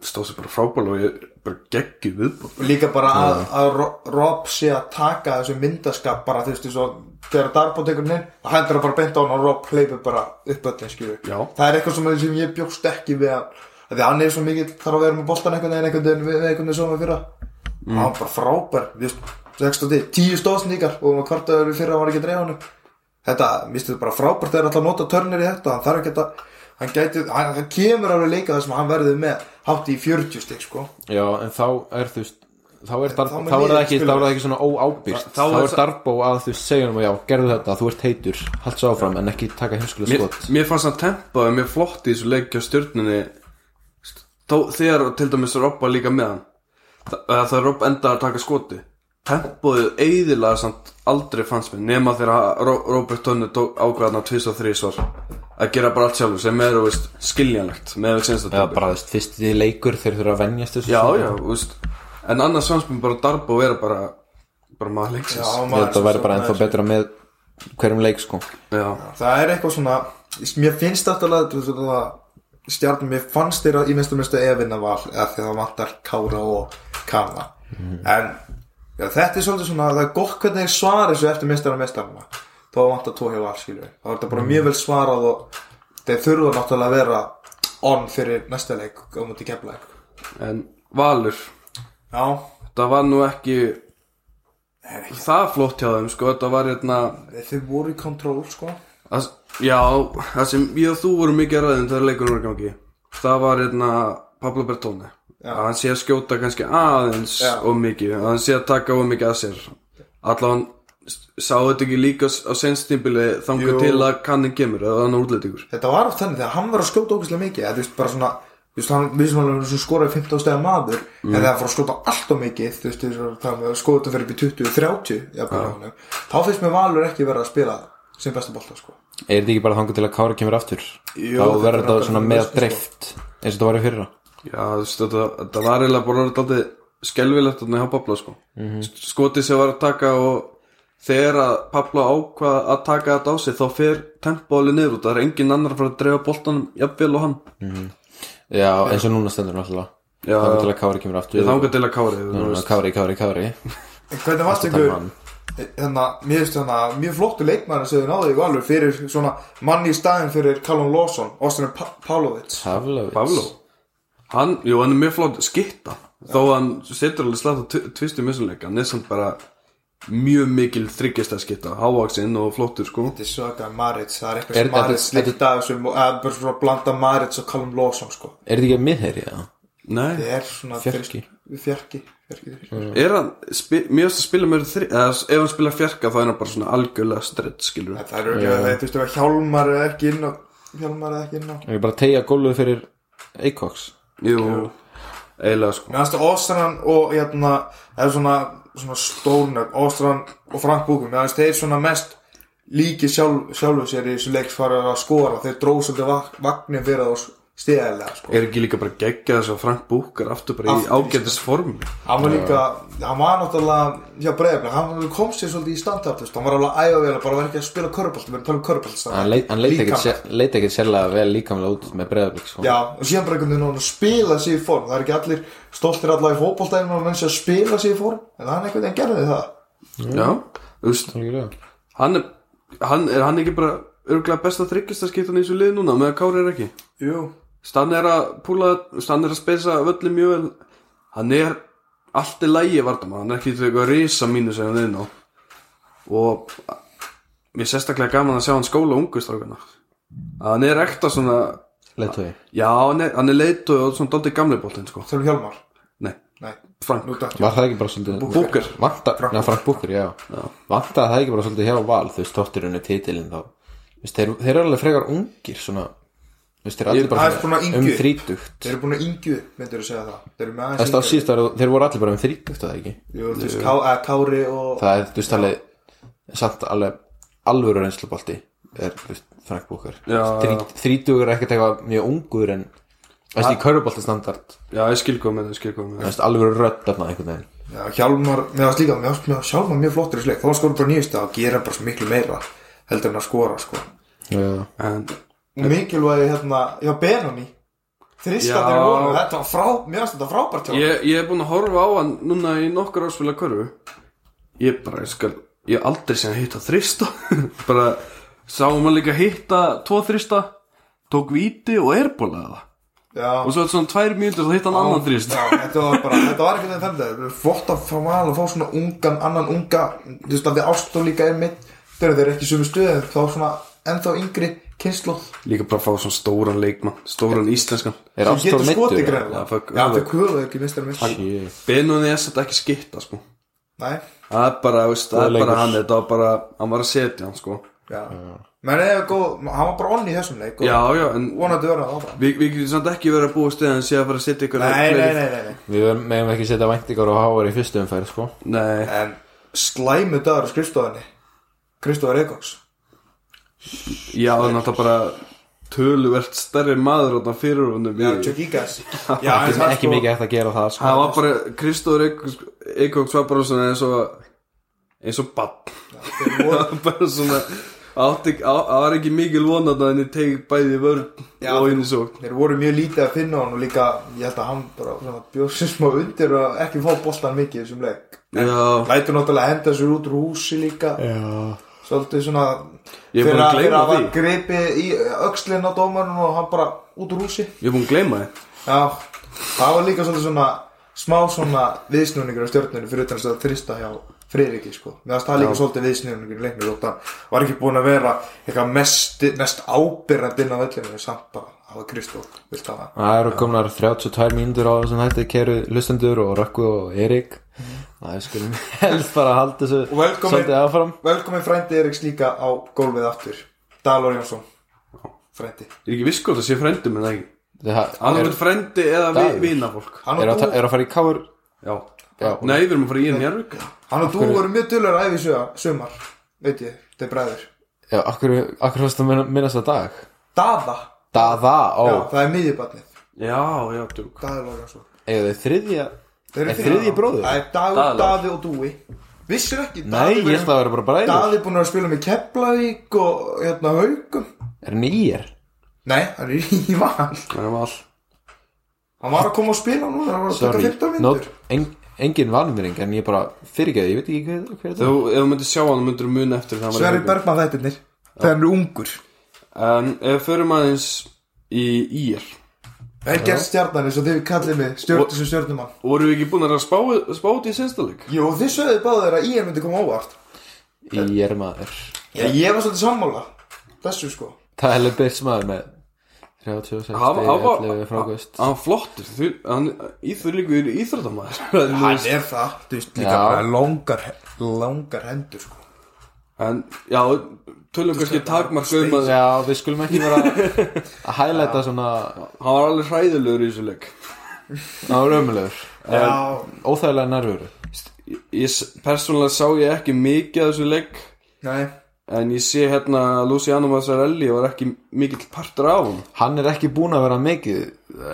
S4: stóð sér bara frábæl og ég bara geggi viðbótt
S3: Og líka bara að, að Ro- Rob sé að taka þessu myndaskap bara þú veist eins og þegar Darbo tekur hann inn það hendur hann bara beint á hann og Rob hleypur bara upp öllin skilur
S4: Já.
S3: það er eitthvað sem, sem ég bjókst ekki við hann Af því að hann er svo mikið þarf að vera með boltan einhvern veginn einhvern veginn við við einhvern veginn sem við fyrra mm. hann var bara frábær þú veist, 16 tíu stóðsningar og hann kvartaður fyrir að hann var ekki að dreifa hann upp þetta, mér finnst þetta bara frábært þegar alltaf nota törnir í þetta hann þarf ekki að hann, gæti, hann, hann kemur alveg leika þar sem hann verður með hátt í 40 stík sko
S1: Já, en þá er þú veist Þá er, darbo, þá
S3: mun
S1: er það
S3: liðið
S1: ekki, þá
S3: spila.
S1: er það ekki svona óábyrst
S4: Þá-
S1: Þá,
S4: þá er
S1: er
S4: það-
S1: Darbo að þú veist segja um já, gerðu þetta, þú ert heitur Halds áfram en ekki taka heimskulega
S4: mér,
S1: skot
S4: mér fannst hann tempaði mér flott í þessu leikja stjörninni þó, þegar til dæmis Robba líka með hann Þa- eða það Robb endaði að taka skoti tempoðið eiðilega samt aldrei fannst mér nema þegar ha- Ro- Robert Tönni tók ákvæðan á 23 svar að gera bara allt sjálfur sem er þú veist, skiljanlegt með við senst að
S1: Eða bara þú veist, fyrst því leikur þeir þurfa að venjast þessu sko.
S4: já,
S1: svona.
S4: já, þú veist en annars fannst mér bara darba og vera bara bara maður
S3: Já,
S4: leiksins já,
S1: Ég held
S3: maður-
S1: að það væri bara ennþá
S3: maður-
S1: betra með hverjum leik sko
S4: já,
S3: það er eitthvað svona mér finnst þetta alveg stjarnum, mér fannst þeirra í minnstu minnstu efinna val, eða því það vantar kára og kanna en já, þetta er svolítið svona, það er gott hvernig þeir svara þessu eftir mistara og mistarana þá vantar tó hjá val, skilju þá er þetta bara mjög vel svarað og þeir þurfa náttúrulega að vera on fyrir næsta leik á múti kefleik
S4: en Valur
S3: já,
S4: það var nú ekki það flott hjá þeim sko, þetta var hérna
S3: þeir voru í kontról sko
S4: að, já, það sem ég og þú vorum mikið að ræðum þegar leikurinn var í gangi það var hérna Pablo Bertone að hann sé að skjóta kannski aðeins
S3: Já.
S4: og mikið, að hann sé að taka og mikið að sér allan sá þetta ekki líka s- á
S3: Jú.
S4: senstímbili þangar til að kannin kemur eða hann er útlendingur
S3: þetta var oft þannig þegar hann var að skjóta ógæslega mikið eða þú veist bara svona þú veist hann við sem alveg sem skoraði 15 stæða maður
S1: Mm.
S3: en þegar hann fór að skjóta allt og mikið þú veist þú veist þannig að skjóta fyrir upp í 20 30 jafnvel hjá honum, þá finnst mér Valur ekki vera að spila sem besta bolta sko
S1: Er þetta ekki bara þangu til að Kára kemur aftur?
S3: Jú,
S1: þá
S3: þetta er
S1: verður þetta
S3: náttúrulega
S1: svona
S3: mjög
S1: með
S3: veist, sko.
S1: dreift eins og þetta var í fyrra
S4: já, þú veist, þetta, þetta var eiginlega bara alltaf skelvilegt þarna hjá Pablo sko. skotið sem var að taka og þegar að Pablo ákvað að taka þetta á sig þá fer tempóli niður og það er engin annar að fara að dreifa boltanum jafnvel og hann
S1: Já, eins og núna stendur náttúrulega
S4: Já.
S1: Þangu til að Kári kemur aftur
S4: Ég þangað til að kári þú
S1: Núna,
S4: veist.
S1: Kári, Kári, Kári
S3: en hvernig
S1: Alltaf
S3: varst ykkur
S1: hann.
S3: þannig að mér finnst þannig að mjög flottu leikmæður sem þau náðu í Valur fyrir svona manni í staðin fyrir Callum Lawson Austin pa Pavlovits
S1: Pavlovits
S4: Pablo hann, jú, hann er mjög flott skitta þó að hann setur alveg slátt á tvistum missunleika, hann er samt bara mjög mikil þryggjasta skitta hávaksinn og flottur sko
S3: þetta er svaka Maritz það er eitthvað
S1: Er-
S3: sem Maritz
S1: þetta-
S3: slikt af þessum og- eða bara svona blanda Maritz og Callum Lawson sko
S1: Er þetta ekki að miðherja?
S4: nei,
S3: þetta er svona
S1: Fjarki. Mm.
S3: fjarki
S4: Er hann, spi, mér finnst að spila mér þri, eða s- ef hann spila fjarka þá er hann bara svona algjörlega stretch, skilur
S3: En Það eru ekki að það, þú veist, ef að hjálmar eða ekki inn á Hjálmar eða ekki inn á
S1: Ég er bara að tegja góluð fyrir Acox
S4: Jú, eiginlega sko
S3: Mér finnst að Óstrann og hérna, það er svona, svona stórnöfn, Óstrann og Frank Búkum, mér finnst þeir svona mest líki sjálf, sjálfu sér í þessu leiks fara að skora, þeir dróð svolítið vak- vagnin fyrir þá stíðæðilega, sko.
S4: Er ekki líka bara geggja þess að Frank Búkar aftur bara í
S3: Aftur í
S4: ágætis formi
S3: Hann var líka, hann var náttúrulega hjá breyðabla, hann kom sér svolítið í standart, veist, hann var alveg ægavela, bara var ekki að spila körbalt, við erum talað um körbalt.
S1: Hann leit, hann leit ekkert sér- leit ekkert sérlega vel líkamlega út með breðablík sko.
S3: Já, og síðan bara einhvern veginn að spila sig í form, það er ekki allir stoltir allavega í fótboltæðinu og menn sér að spila sig í form, en hann einhvern veginn gerði það.
S4: Já, þú veist,
S1: Algjörlega.
S4: hann er, hann, er hann ekki bara örgulega besta þryggjastaskiptan í þessu lið núna með að Kári er ekki
S3: Jú,
S4: Stann er að púla, Stann er að spesa völlin mjög vel Hann er allt í lægi vartamann, hann er ekki eitthvað risa mínu sem hann er inn á Og mér er sérstaklega gaman að sjá hann skóla ungu strákana Að Hann er ekta svona,
S1: Leitói
S4: já hann er, hann er leitu og svona dálítið gamli bóltinn sko
S3: þurfum hjálmar.
S4: Nei,
S3: Nei,
S4: Frank,
S3: nú dætt.
S1: Var það ekki bara svolítið
S4: Búker
S1: Vanta, neða Frank Booker, já, Vantaði það ekki bara svolítið hér á val Þú veist, tóttirunni titilinn þá Þú veist, þeir, þeir eru alveg frekar ungir svona Þú veist, þeir eru
S4: Ég-
S1: allir bara
S3: aðeins búin að
S1: um
S3: yngju.
S1: þrítugt
S3: Þeir eru búin að yngju, myndir þú segja það. Þeir eru með
S1: Þú
S3: aðeins
S1: veist, á síðust ára, þeir voru allir bara um þrítugt Það ekki
S3: Jú, þú veist, Ká, að, Kári og...
S1: Það er, þú veist, alveg Samt alveg alvöru reynslubolti Er, þú veist, Frank Booker
S4: Já,
S1: Þrí, Þrítugur er ekkert eitthvað mjög ungur En, þú veist, í körubolti standart
S4: já ég skil hvað með það, skil hvað með
S1: Þú veist, alvöru rödd þarna einhvern veginn
S3: Já, hjálmar, mér varst líka, mér varst mér varst hjálmar mjög flottur í sleik. Það var skora bara nýjast að gera bara svo miklu meira heldur en að skora, sko.
S1: Já,
S4: það En
S3: Og mikilvægi hérna, já, Benoni. Þriskatir
S4: Já.
S3: voru, þetta var frá, mér varst þetta frábært hjá. honum.
S4: Ég, ég hef búin að horfa á hann núna í nokkur áspila körfu Ég bara, ég skal Ég hef aldrei sem að hitta þrista Bara, sáum hann líka hitta Tvo þrista, tók víti Og erbólaði það
S3: Já.
S4: Og svo er svona tvær mínútur og hitta hann annan þrist
S3: Já, þetta var bara, þetta var ekki þeim femta Flott að fá val og fá svona ungan annan unga, þú veist að þið ástu líka er mitt, þeir eru þeir ekki í sömu stuði þá svona ennþá yngri kynsluð
S4: Líka bara að fá svona stóran leikmann Stóran íslenskan
S1: er
S3: sem
S1: Ástór
S3: getur skotið
S1: meittur?
S3: greið
S4: Já, fuck,
S3: Já, þau kvöðu ekki mistar mitt
S1: Shit.
S4: Benunni er þetta ekki skipta sko
S3: Nei,
S4: Það er bara, þú veist, það
S1: Góður
S4: er bara
S1: leikur.
S4: hann Þetta var bara, hann var að setja hann sko
S3: já Menn eða góð, hann var bara onni í þessum leik
S4: Já,
S3: og
S4: já, en
S3: vonandi verða það áfram
S4: við, við getum samt ekki verið að búa stegið En sé að fara að setja ykkur
S3: Nei, nei, nei, nei, nei
S1: Við verðum- megum ekki setja væntingar og háar í fyrstu umferð, sko
S4: nei.
S3: En slæmu dagur á skrifstofinni Kristóður Eikoks
S4: Já, það er náttúrulega bara töluvert stærri maður þarna fyrir honum
S3: Já,
S4: í-
S3: Chuck Egas Já, en
S1: ekki,
S3: það
S1: ekki
S3: sko-
S1: mikið eftir að gera það sko.
S4: Það var bara, Kristóður Eikóks var bara svona eins og eins og bann
S3: þeir voru-
S4: bara svona átti, á, það var ekki mikil vonað að henni tegi bæði í vörn
S3: Já.
S4: og inn í sókn
S3: Þeir voru mjög lítið að finna hann og líka ég held að hann bara bjóð sér smá undir og ekki fá boltan mikið í þessum leik
S4: Já,
S3: Lætur náttúrulega henda sér út úr húsi líka
S1: Já.
S3: Svolítið svona
S4: Ég er búinn að gleyma
S3: fyrir að
S4: því.
S3: hann gripi í öxlinn á dómarinn og hann bara út úr húsi
S4: ég er búinn að gleyma þið
S3: Já, það var líka svolítið svona smá svona viðsnúningur á stjórnunni fyrir utan þess að þrista hjá Freyriki sko Mér fannst það líka svolítið viðsnúningur í leiknir og það var ekki búin að vera eitthvað mest, mest ábyrrandi inn á vellinu samt bara hafa Kristó vilt hafa
S1: Það eru komnar 32 mínútur á þessum hætti kæru lustendur og Rökku og Erik Það er skulum helst bara að halda þessu
S3: Mhm. Og velkomin-
S1: svolítið áfram
S3: Velkomin frændi Eriks líka á gólfið aftur Dalor Jónsson Frændi
S4: Ég er ekki viss hvort að sé frendi með það ekki
S1: Það
S4: Annað
S1: er,
S4: verið frendi eða vi,
S1: Dagur.
S4: vinafólk
S3: Hann
S1: er,
S3: og
S1: að, ta-
S3: Dú,
S1: er að fara í káur
S4: Já,
S1: Já,
S4: nei, við erum að fara í enn Njárvík
S3: hann og dú voru mjög dölur æfi suða- sumar Veit ég, þeir bræður
S1: já akkur, akkur fyrst að minna- minnast það dag
S3: Daða,
S1: Dada, ó
S3: já, það er miðjubarnið
S4: Já, já, djúk
S3: Dalor Jónsson
S1: Eða þið þriðja
S3: Þeir
S1: Er þriðji bróðir?
S3: Það er Dagur,
S4: Dagur.
S3: Daði og Dúi Vissir ekki,
S1: Nei, ég held að það vera bara bræður
S3: Daði búin að vera að spila með Keflavík og hérna haugum
S1: Er nýjar?
S3: Nei, hann er í vann
S4: Það er all
S3: Hann var að koma og spila núna, hann var að taka
S1: Sorry,
S3: 15
S1: not,
S3: myndur
S1: en, engin vanmyring en ég bara fyrirgeði, ég veit ekki hver, hver
S4: Þú,
S1: það
S4: ef þú myndir sjá hann, myndir muna eftir það
S3: Sverri Bergman þættirnir Þegar hann er ungur
S4: En ef við förum aðeins í ír
S3: Það er gerð stjarnan eins og þið kallið mig stjórn
S4: Og-
S3: sem stjórnumann
S4: Voru við ekki búin að spá, spá út í sérstalik?
S3: Jú, þið sögðu báðir að ég myndi koma óvart
S1: er Ég er maður
S3: Já, ég var svolítið sammála Þessu sko
S1: Það er alveg byrst maður með 36
S4: Hann-
S1: stig,
S4: hann var-
S1: 11 frákvæst
S4: hann flottur þu- hann íþurlíku íþróttamæður
S3: Hann er það, þú veist, líka
S1: Já.
S3: bara langar, langar hendur sko.
S4: en já, tölum kannski takmarka um að
S1: Já, við skulum ekki vera að hælæta svona
S4: hann var alveg hræðilegur í þessu leik
S1: Það var ömulegur
S3: Já,
S1: Óþægilega nærveru
S4: ég, ég s- persónulega sá ég ekki mikið af þessu leik
S3: nei
S4: en ég sé hérna að Luciano Mazzarelli var ekki mikill partur af hún
S1: Hann er ekki búin að vera mikið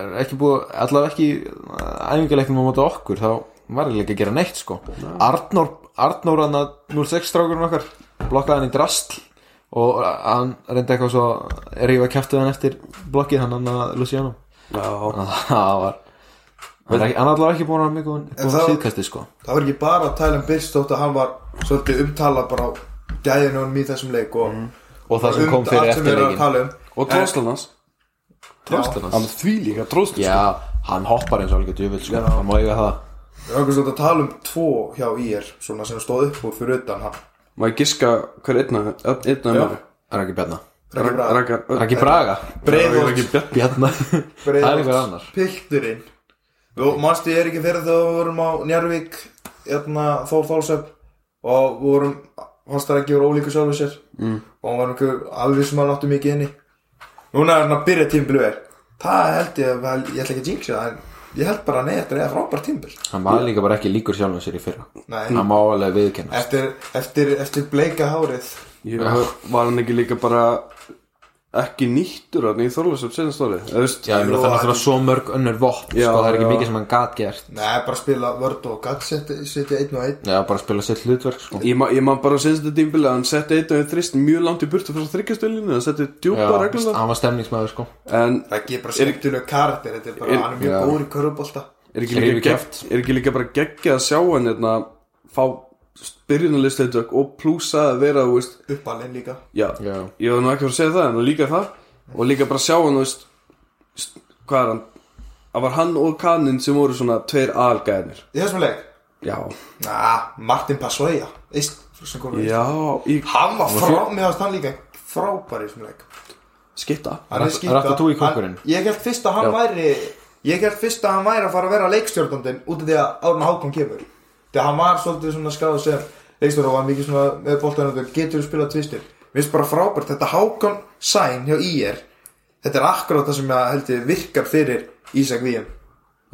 S1: er ekki búið, allavega ekki æfingarleiknum á móti okkur þá var ég ekki að gera neitt sko Arnór, Arnór hann að 06 strákurinn okkar blokkaði hann í drastl og eh, hann reyndi eitthvað svo rífa kæftuð hann eftir blokkið hann hann að Luciano
S4: já,
S1: það var hann er ekki- hann er allavega ekki búin að vera mikið
S3: En
S1: búin
S3: það-
S1: síðkasti sko
S3: það var ekki bara að tala um Byrstótt að hann var svolítið umtala bara á gæðinu honum í þessum leik og
S1: og Mm. það sem
S3: um
S1: kom
S3: allt
S1: fyrir
S3: sem við erum að
S1: eftirleikin
S3: tala um.
S4: og tróðslan hans
S1: Tróðslan
S4: hann
S1: hans
S4: er því líka tróðslan
S3: sko.
S1: já, hann hoppar eins og alveg djöfull sko, hann má eiga það
S3: Við erum svolítið að tala um tvo hjá IR svona sem stóð upp og fyrir utan hann
S4: maður giska hver einna einna
S3: Já.
S4: með
S1: Raki Bjarnar
S3: Raggi Braga.
S1: Raki Braga
S3: Breiðholt
S1: Bjarnar Það er einhver annar
S3: Pilturinn Þú manstu ég er ekki fyrir þegar við vorum á Njárvík Jörna Þór Þórsöf Og við vorum Fannst það ekki voru ólíku sjálfur sér mm. Og hann var einhver alveg sem hann áttu mikið inni Núna er hann að byrja tímbil er Það held ég vel, ég ætla ekki að jinxa það En ég held bara að nei, þetta er frábært tímbil
S1: Hann var líka bara ekki líkur sjálfum sér í fyrra Hann
S3: Nei,
S1: má alveg viðkenna
S3: eftir, eftir, eftir bleika hárið
S4: Ég var hann ekki líka bara ekki nýttur hann í Þorlásöf senast árið eða veist
S1: Já, ég meina það
S3: Jú,
S1: er náttúrulega svo mörg önnur vopn
S4: Já,
S1: sko, Það er ekki
S4: já.
S1: mikið sem hann gat gert
S3: Nei, bara spila vörd og gatt setja setja einn og einn
S1: Já, bara spila sitt hlutverk sko.
S4: ég, ma ég man bara senast þetta tímbilið að hann setti eitt og einn þrist mjög langt í burtu frá þryggjastölinni hann setti
S1: Já,
S4: djúpa reglulega
S1: hann var stemningsmæður sko.
S4: en
S3: Það gefur bara skemmtilega karakter Þetta er bara,
S4: er-
S3: hann er mjög
S1: já.
S3: góður í körubólta
S4: er ekki,
S1: Hreyfi
S4: líka gegg,
S1: kjaft.
S4: er ekki líka bara geggja að sjá hann hérna, fá byrjunarlistleitökk og plúsa að vera þú veist,
S3: Uppalinn líka
S4: já,
S1: Já.
S4: ég var nú ekki að fara að segja það en líka það og líka bara sjá hann þú veist, st- hvað er hann að var hann og kaninn sem voru svona tveir algæðinir
S3: Í þessum leik
S4: já,
S3: Na, Martin Passoia Íst, sem kom við
S4: já, í
S3: Hann var frá, mér varst hann líka frábær í þessum leik
S4: skitta
S3: Hann er
S1: Rat-
S3: skýta
S1: Ratatouille kokkurinn.
S3: Ég held fyrst að hann
S1: Já.
S3: væri Ég held fyrst að hann væri að fara að vera leikstjórnandinn Út af því að Árna Hákon kemur Þegar hann var svolítið svona skráð sem Leikstjórn og var mikið svona með boltanöndur Getur spilað tvistir Mér finnst bara frábært Þetta Hákon sæn hjá IR Þetta er akkurát það sem ég held ég virkar fyrir Ísak Víum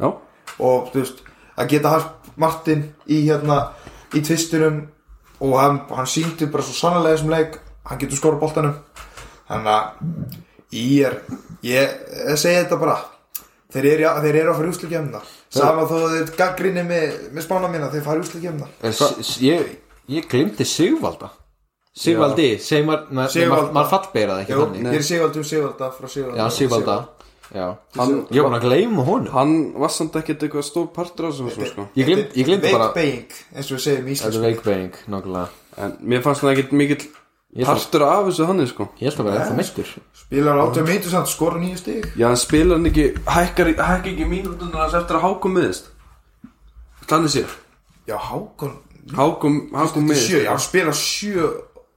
S4: já,
S3: og þú veist að geta haft Martin í hérna í tvistunum og hann, hann síndi bara svo sannlega þessum leik hann getur skora boltanum þannig að ég er ég, ég segi þetta bara þeir eru, þeir eru að fara úsleikjæmna saman þó að þeir gaggrinni með, með spána mína þeir fara úsleikjæmna
S1: En s- s- Ég, ég glimti Sigvalda Sigvaldi, segir maður ma- nei,
S3: Sigvalda.
S1: maður maður fallbeira það ekki
S3: Jú,
S1: þannig
S3: ég er Sigvaldur Sigvalda frá Sigvalda
S1: Já, Sigvalda Já.
S4: Hann-
S1: Ég var búin að gleyma honum
S4: hann var samt ekkert eitthvað stór partur af þessum sko.
S1: Ég gleymdi- ég gleymdi bara-
S3: veikbeing eins og við segjum í
S1: Þetta er
S3: Íslands
S1: veikbeiging, nokkulega
S4: en mér fannst hann ekkert mikill
S1: Ég þarf-
S4: partur af þessu hann sko.
S1: Ég held að vera eftir meittur
S3: spilar áttu myndu samt skora nýju stig
S4: já, hann spila hann ekki hækkar hækka ekki mínútunar hans eftir að hákum miðist þannig sér
S3: já Hákon
S4: hákum, hákum miðist
S3: sjö, já hann spilar sjö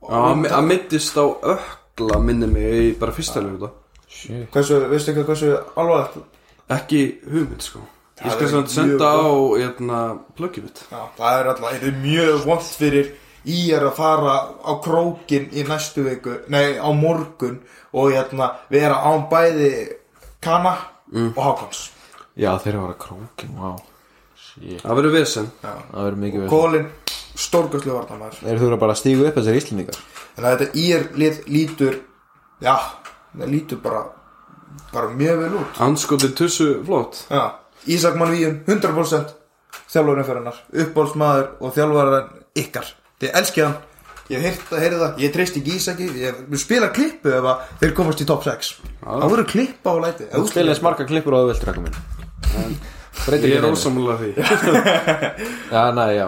S4: Já, hann hann meiddist á ökla minni mig í bara fyrsta sko. leikuta
S3: hversu, veistu eitthvað hversu alvarlegt
S4: ekki hugmynd sko ég
S3: Það
S4: skal
S3: er
S4: samt
S3: mjög
S4: senda á
S3: gott.
S4: hérna, plöggið mitt
S3: Já, það er alltaf, það er mjög vond fyrir í er að fara á krókin í næstu viku, nei á morgun og hérna vera án bæði Kana og Hákons
S1: Já, þeir eru að vera krókin, vá Shit.
S4: það verður vesen
S1: Það verður mikið við
S3: Kólin stórkastlu vartamæður
S1: Þeir þurfa bara að stígu upp þessar íslendingar
S3: en að þetta í er lið, lítur já, það lítur bara bara mjög vel út
S4: anskotið tussu flott
S3: já, Ísak Manvíum 100% þjálfarumferðarnar, uppbólsmaður og þjálfarinn ykkar þið elskið hann Ég hef heyrt að heyra það, ég treyst ekki Ísaki, ég ég spila klippu ef að þeir komast í top 6. Það voru klippa á læti.
S1: Þú spilaði smarga klippur á það viltur ekkur minn Breytir
S4: ég
S1: ekki
S4: er
S1: neinu
S4: ósamlega því
S1: Já, næ, já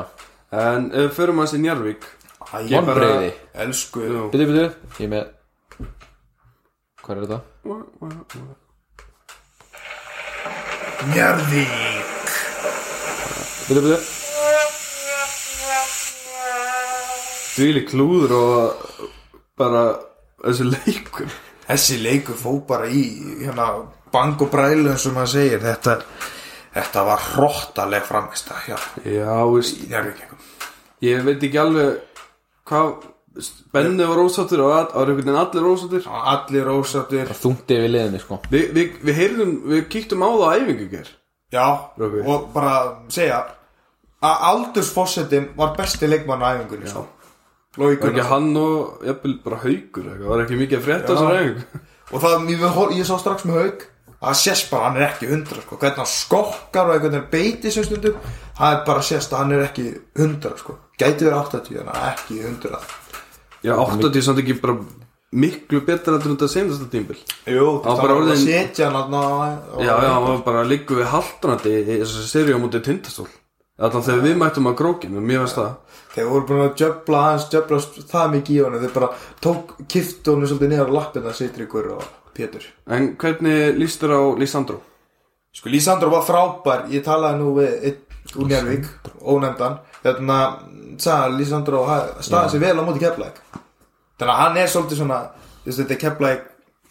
S4: en ef við förum aðeins í Njarvík
S3: Æ,
S1: Vonbreiði
S3: elsku.
S4: Jú.
S1: Byttu, byttu Ég er með Hvað er þetta?
S3: Njarðvík.
S1: Byttu, byttu
S4: Þvíli klúður og bara þessi leikur
S3: þessi leikur fó bara í hérna, bang og brælu eins og maður segir þetta, þetta var hróttaleg framist að hjá
S4: Já, veist,
S3: í njárvíkingum
S4: ég veit ekki alveg hvað Benni var ósáttur og að- það var einhvern veginn allir ósáttur
S3: allir ósáttir
S1: Það þungti yfir liðinni sko
S4: Við vi, vi heyrðum, við kíktum á það á æfingu ger
S3: já,
S4: Rökkvi.
S3: og bara segja að aldursfossetin var besti leikmann á æfingunni sko. Logi
S4: Var ekki
S3: Gunnarsson.
S4: hann og, jafnvel, bara haugur eitthvað, var ekki mikið að frétta þessar æfingu
S3: og það, ég, hor- ég sá strax með haug að sést bara, hann er ekki 100 sko. hvernig hann skokkar og einhvern veginn beiti sem stundum, það er bara sést að hann er ekki 100 sko, gæti verið 80 en ekki 100
S4: Já, 80 samt ekki bara miklu betra heldur en þetta senasta tímbil
S3: Jú,
S4: Á
S3: það
S4: bara
S3: var orðin... að
S4: orðin-
S3: setja hann að
S4: Já, já, hann var bara að liggu við haldanandi í þessari seri á mútið tindastól Þannig þegar við mættum að grókinu, mér veist það
S3: þeir voru búin að djöfla hans djöfla það mikið í honum, þeir bara tók kift honum svolítið niður á lappina Sittrikur og Pétur
S4: En hvernig líst þér á Lísandró?
S3: sko Lísandro var frábær, ég talaði nú við einn úr Njárvík, ónefndan þannig að sagði Lísandro staði sig vel á móti keflæk þannig að hann er svolítið svona þú veist, þetta keflæk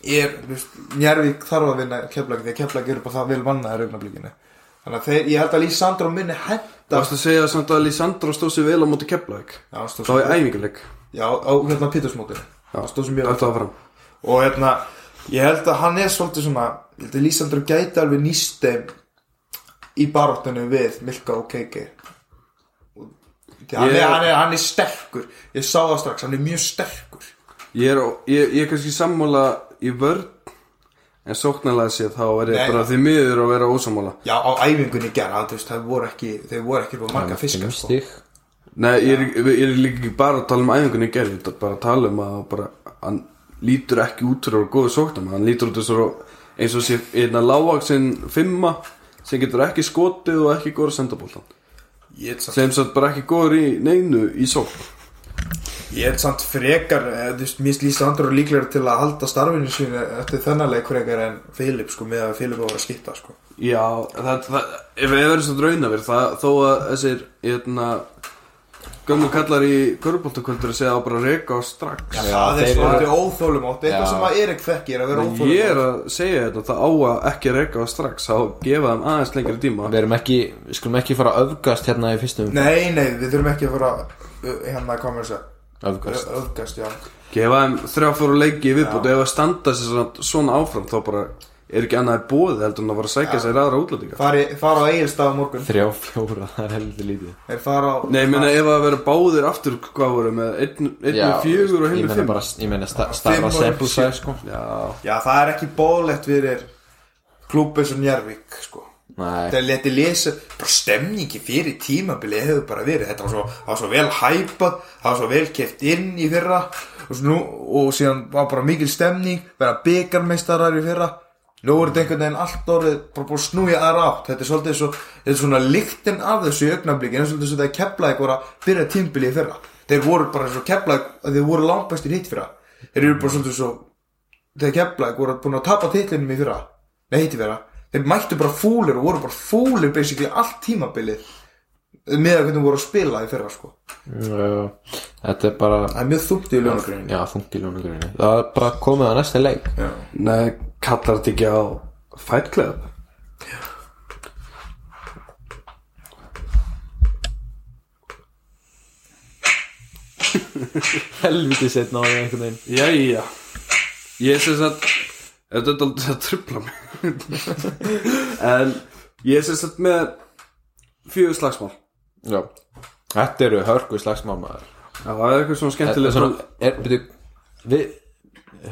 S3: er þú veist, Njárvík þarf að vinna keflæk því að keflæk eru bara það vel mannaðar augnablikinu þannig að þeir, ég held að Lísandro minni henda
S4: Varst að segja samt að Lísandró stóð sér vel á mútið Keflavík
S3: Já, hann stóð
S4: Það var í æfinguleik
S3: Já, á hérna Pétursmótur
S4: Já,
S3: stóð sem mjög
S4: Þetta var fram
S3: og hérna, ég held að hann er svolítið svona, ég held að Lísandur gæti alveg nýst þeim í baráttunum við Milka og KK Og- því hann,
S4: Ég-
S3: er, hann, er, hann er sterkur ég sá það strax, hann er mjög sterkur
S4: Ég er, ég, ég er kannski sammála í vörn En sóknarlega séð þá er ég
S3: Nei.
S4: bara því miður að vera ósammála
S3: já, á æfingunni gerða, þú veist, þeir voru ekki þeir voru ekki búin marga fiskar sko.
S1: Stig
S4: Nei, ég er, ég er líka ekki bara að tala um æfingunni í gerð, ég er bara að tala um að bara, hann lítur ekki út fyrir að vera góðu sóknum, hann lítur út þessu eins og sé einna lágvaksinn fimma sem getur ekki skotið og ekki góður að senda bóltan
S3: ég held samt,
S4: sem satt bara ekki góður í neinu í sókn
S3: ég held samt frekar eh, þú veist, mér Lísandur líklega til að halda starfinu sínu eftir þennan leik frekar en Filip, sko, með að Filip var að skitta, sko
S4: Já, það, það, ef það verður svo draunavir það, þó að þessir eitna, gömlu kallar í körubóltakvöldur að segja að bara reka á strax
S3: Já, það er
S1: þeir
S3: svolítið óþólumátt eitthvað
S1: Já.
S3: sem að Erik þekkir að vera
S4: Nei, ég er
S3: óþólumátt
S4: að segja þetta, það á að ekki reka á strax, þá gefa þeim aðeins lengri tíma
S1: Við erum ekki, við skulum ekki fara að öfgast hérna í fyrstum
S3: Nei, nei, við þurfum ekki að fara uh, hérna, hvað maður að segja
S1: Öfgast
S3: Ö- öfgast, já
S4: gefa þeim þrjá fóru leiki í viðbútt ef að standa sér svona, svona áfram þá bara er ekki annað í bóði heldur en að fara að sækja sér aðra útlendinga
S3: Fari, fara á Egilstað á morgun
S1: Þrjá, fjóra, það er heldur lítið
S3: Þeir fara á
S4: Nei, ég meina ef að vera báðir aftur hvað voru með einn einn
S1: Já,
S4: með fjögur og
S1: ég
S4: hinn með
S1: meina
S4: fimm
S1: bara, ég meina sta,
S3: Fimm
S1: starra
S3: og
S1: sample
S3: sjö.
S1: size sko
S4: Já,
S3: Já, það er ekki bóðlegt fyrir klúbið sem Njárvík, sko
S1: Nei,
S3: Þeir leti lesa, bara stemningi fyrir tímabili hefur bara verið Þetta var svo, það var svo vel hæpað, það var svo vel keft inn í fyrra og, svo nú, og síðan var bara mikil stemning, vera byggarmeistarar í fyrra Nú er þetta einhvern veginn allt orðið bara búið að snúja aðra átt Þetta er svolítið svo, þetta er svona lyktin af þessu í augnablikinu Svolítið svo þetta keplaði eitthvað að byrja tímabili í fyrra Þeir voru bara eins og keplaði, þeir voru langbæstir hitt fyrra Þeir eru bara svolítið svo þegar Keflæk voru búin að tapa titlinum í fyrra nei, hitti fyrra þeir mættu bara fúlir og voru bara fúlir basically allt tímabilið með að hvernig voru að spila í fyrra sko.
S1: uh, þetta er bara
S3: það er mjög þungt í ljónagreinu
S1: Já, þungt í ljónugurinu Það er bara komið að næsta leik
S4: nei, kallar þetta ekki á Fight Club
S1: Helviti setna á því einhvern veginn
S4: Jæja Ég sem sagt Þetta er aldrei að trubla mig En ég sem sagt með fjögur slagsmál
S1: Já Þetta eru hörku slagsmámaður
S4: Já, það er eitthvað svona
S1: Þetta
S4: skemmtilega
S1: er svona, er, byrju, við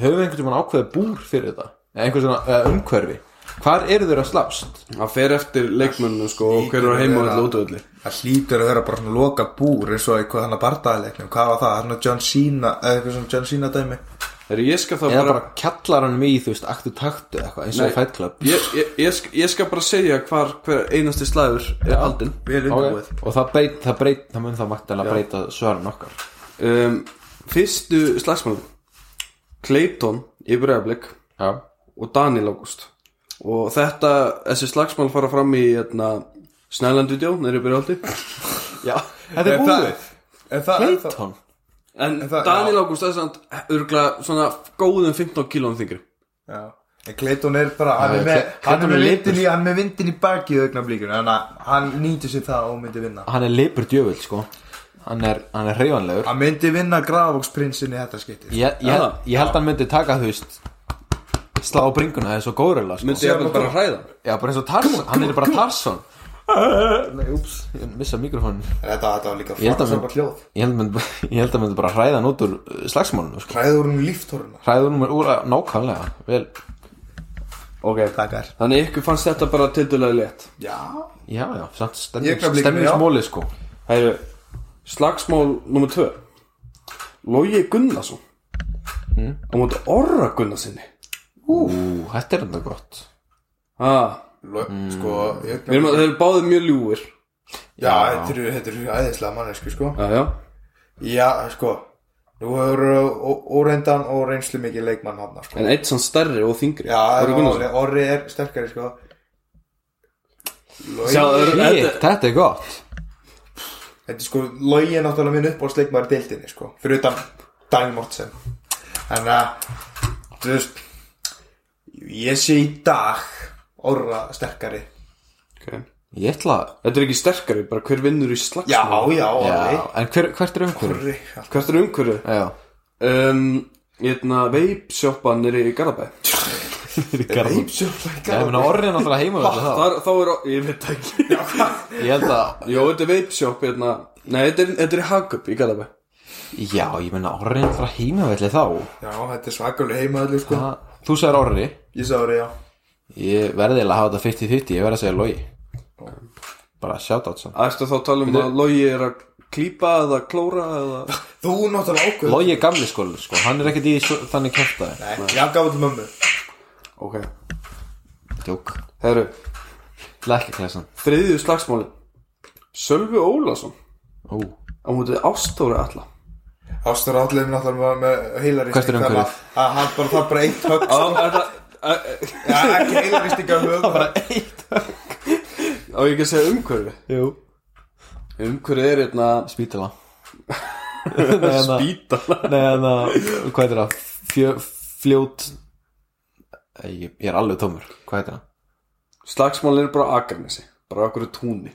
S1: höfum einhvern tímann ákveðið búr fyrir þetta Eða einhvern svona eða umhverfi Hvar eru þeir að slást?
S4: Það fer eftir leikmönnum sko og hver er á heima og allir út öðli
S3: það hlýtur að vera bara svona loka búr eins og eitthvað hann að bardaðilegnum hvað var það, hann að John Cena eða eitthvað svona John Cena dæmi
S4: Þegar ég skal það
S1: Eða
S4: bara,
S1: bara kallar hann mig í, þú veist, aktu taktu eða eitthvað eins
S4: Nei.
S1: og Fight Club
S4: ég, ég, ég, skal, ég skal bara segja hvar hver einasti slagur er haldinn
S3: vel undirbúið
S1: Ok, Og það breyt, það breyt, það mun það maktilega breyta svöran okkar
S4: um, Fyrstu slagsmál Clayton í Breiðablik
S1: Já,
S4: og Daniel August og þetta, þessi slagsmál fara fram í hérna, Snæland-vídeó, nýri byrjaldi
S1: Já þetta er
S3: En það-
S1: búið
S3: en það- en það-
S1: Clayton
S4: En
S3: En það-
S4: Daniel
S3: já.
S4: Ágúst er samt örgla svona góðum 15 kílónum þingri
S3: Já. En Clayton er bara, hann
S1: Já,
S3: er með,
S1: Clay-
S3: hann er
S1: Clayton er
S3: með,
S1: lipur.
S3: vindin í, hann er með vindin í baki í augnablíkinu, þannig að hann nýtir sér það og myndi vinna.
S1: Hann er lipur djöfull sko Hann er, hann er reyfanlegur
S3: Hann myndi vinna Gravoksprinsin í þetta sko. skyttið.
S1: ég, ég,
S4: Já.
S1: ég held að hann myndi taka þú veist Slá á bringuna, það er svo góðurlega sko.
S4: Myndi ég
S3: Sjáum
S4: bara
S3: það.
S4: hræða
S1: Já, bara eins og Tarzan, hann er bara Tarzan Nei, úps, ég missa mikrofónin
S3: Þetta, þetta var líka
S1: Ég held að
S3: framsöpa hljóð.
S1: ég held að myndi, bara- ég held að myndi bara hræða hann út úr uh, slagsmálinu sko.
S3: Hræður hún um líftoruna.
S1: Hræða hann úr að nákvæmlega Vel,
S4: Ok,
S3: Takk er.
S4: þannig ykkur fannst þetta bara tildulega létt
S3: Já.
S1: já, já, samt
S3: Í
S1: stemming,
S3: augnablikinu, já.
S1: stemmingsmóli sko
S4: Hæru, slagsmál nummer 2 Logi Gunnarsson
S3: Hm?
S4: Á móti Orra Gunnarsinni
S1: Ú, þetta er enda gott
S4: ah,
S3: Sko,
S4: við erum að- Þeir eru báðið mjög ljúfir
S3: Já, þetta eru, þetta eru æðislega mannesku, sko.
S4: Já, já
S3: Já, sko, nú hefur óreyndan og reynslu mikið leikmann hann, sko.
S4: En eitt sann stærri og þingri
S3: Já, en
S4: Orri
S3: Orri,
S4: Gunnarsson
S3: orri er sterkari, sko. Logi-
S4: Sjá, það eru-
S1: Shit,
S4: þetta-
S1: þetta er gott
S3: Þetta er sko, Logi er náttúrulega minn uppáhaldsleikmaður í deildinni, sko, fyrir utan Daniel Mortsen. Þannig að, þú veist, ég sé í dag orra sterkari.
S4: Ok.
S1: Ég ætla að
S4: Þetta er ekki sterkari, bara hver vinnur í slagsmál
S3: Já, já, orri.
S1: Sko. Já, en hver, hvert er umhverfið?
S3: Orri,
S4: Hvert er umhverju?
S1: Já,
S4: um, Hérna, veipsjoppan er í Garabæ
S1: Garðabæ. Já, ég meina orðin er náttúrulega heima við það
S4: Ah. Þar, Þá er, ég veit það ekki
S1: Ég held að,
S4: Jó, þetta er veipsjopp hérna. Nei, þetta er, þetta er í Hagup í Garabæ
S1: já, ég meina orðin er náttúrulega heima við þá
S3: Já, þetta er svakalega heimaðallu, sko.
S1: Ha, Þú segir orði
S3: Ég sá orri, já.
S1: Ég verði eiginlega að hafa þetta 50-50, ég verði að segja logi Bara shoutout samt
S4: Æstu þá að tala um að logi er að klípa eða klóra eða
S3: Þú náttúrulega ákveð.
S1: Logi er gamli skóli, sko, hann er ekkert í svo, þannig kjartaði
S3: Nei, ég gaf þetta mömmu.
S4: Ok,
S1: Djók,
S4: herru,
S1: lækjaklæsan
S4: þriðju slagsmáli Sölvi Ólason
S1: Ú,
S4: á mútið Ástóri alla
S3: Ástur Átleif náttúrulega með, með heilarist.
S1: Hvert er umhverfið?
S3: Að hann bara, það er bara eitt högg,
S4: Á,
S3: sko.
S4: er það, er,
S3: Já, ekki heilarist ekki að högg.
S1: bara eitt
S4: á ég ekki að segja umhverfi
S1: Jú,
S4: Umhverfi er hérna
S1: spítala Nei, hérna,
S4: spítala
S1: nei, hérna, hvað heitir það? Fjö, fljót Æ, Ég ég er alveg tómur, hvað heitir það?
S4: Slagsmálin er bara á Akranesi, bara á okkur túni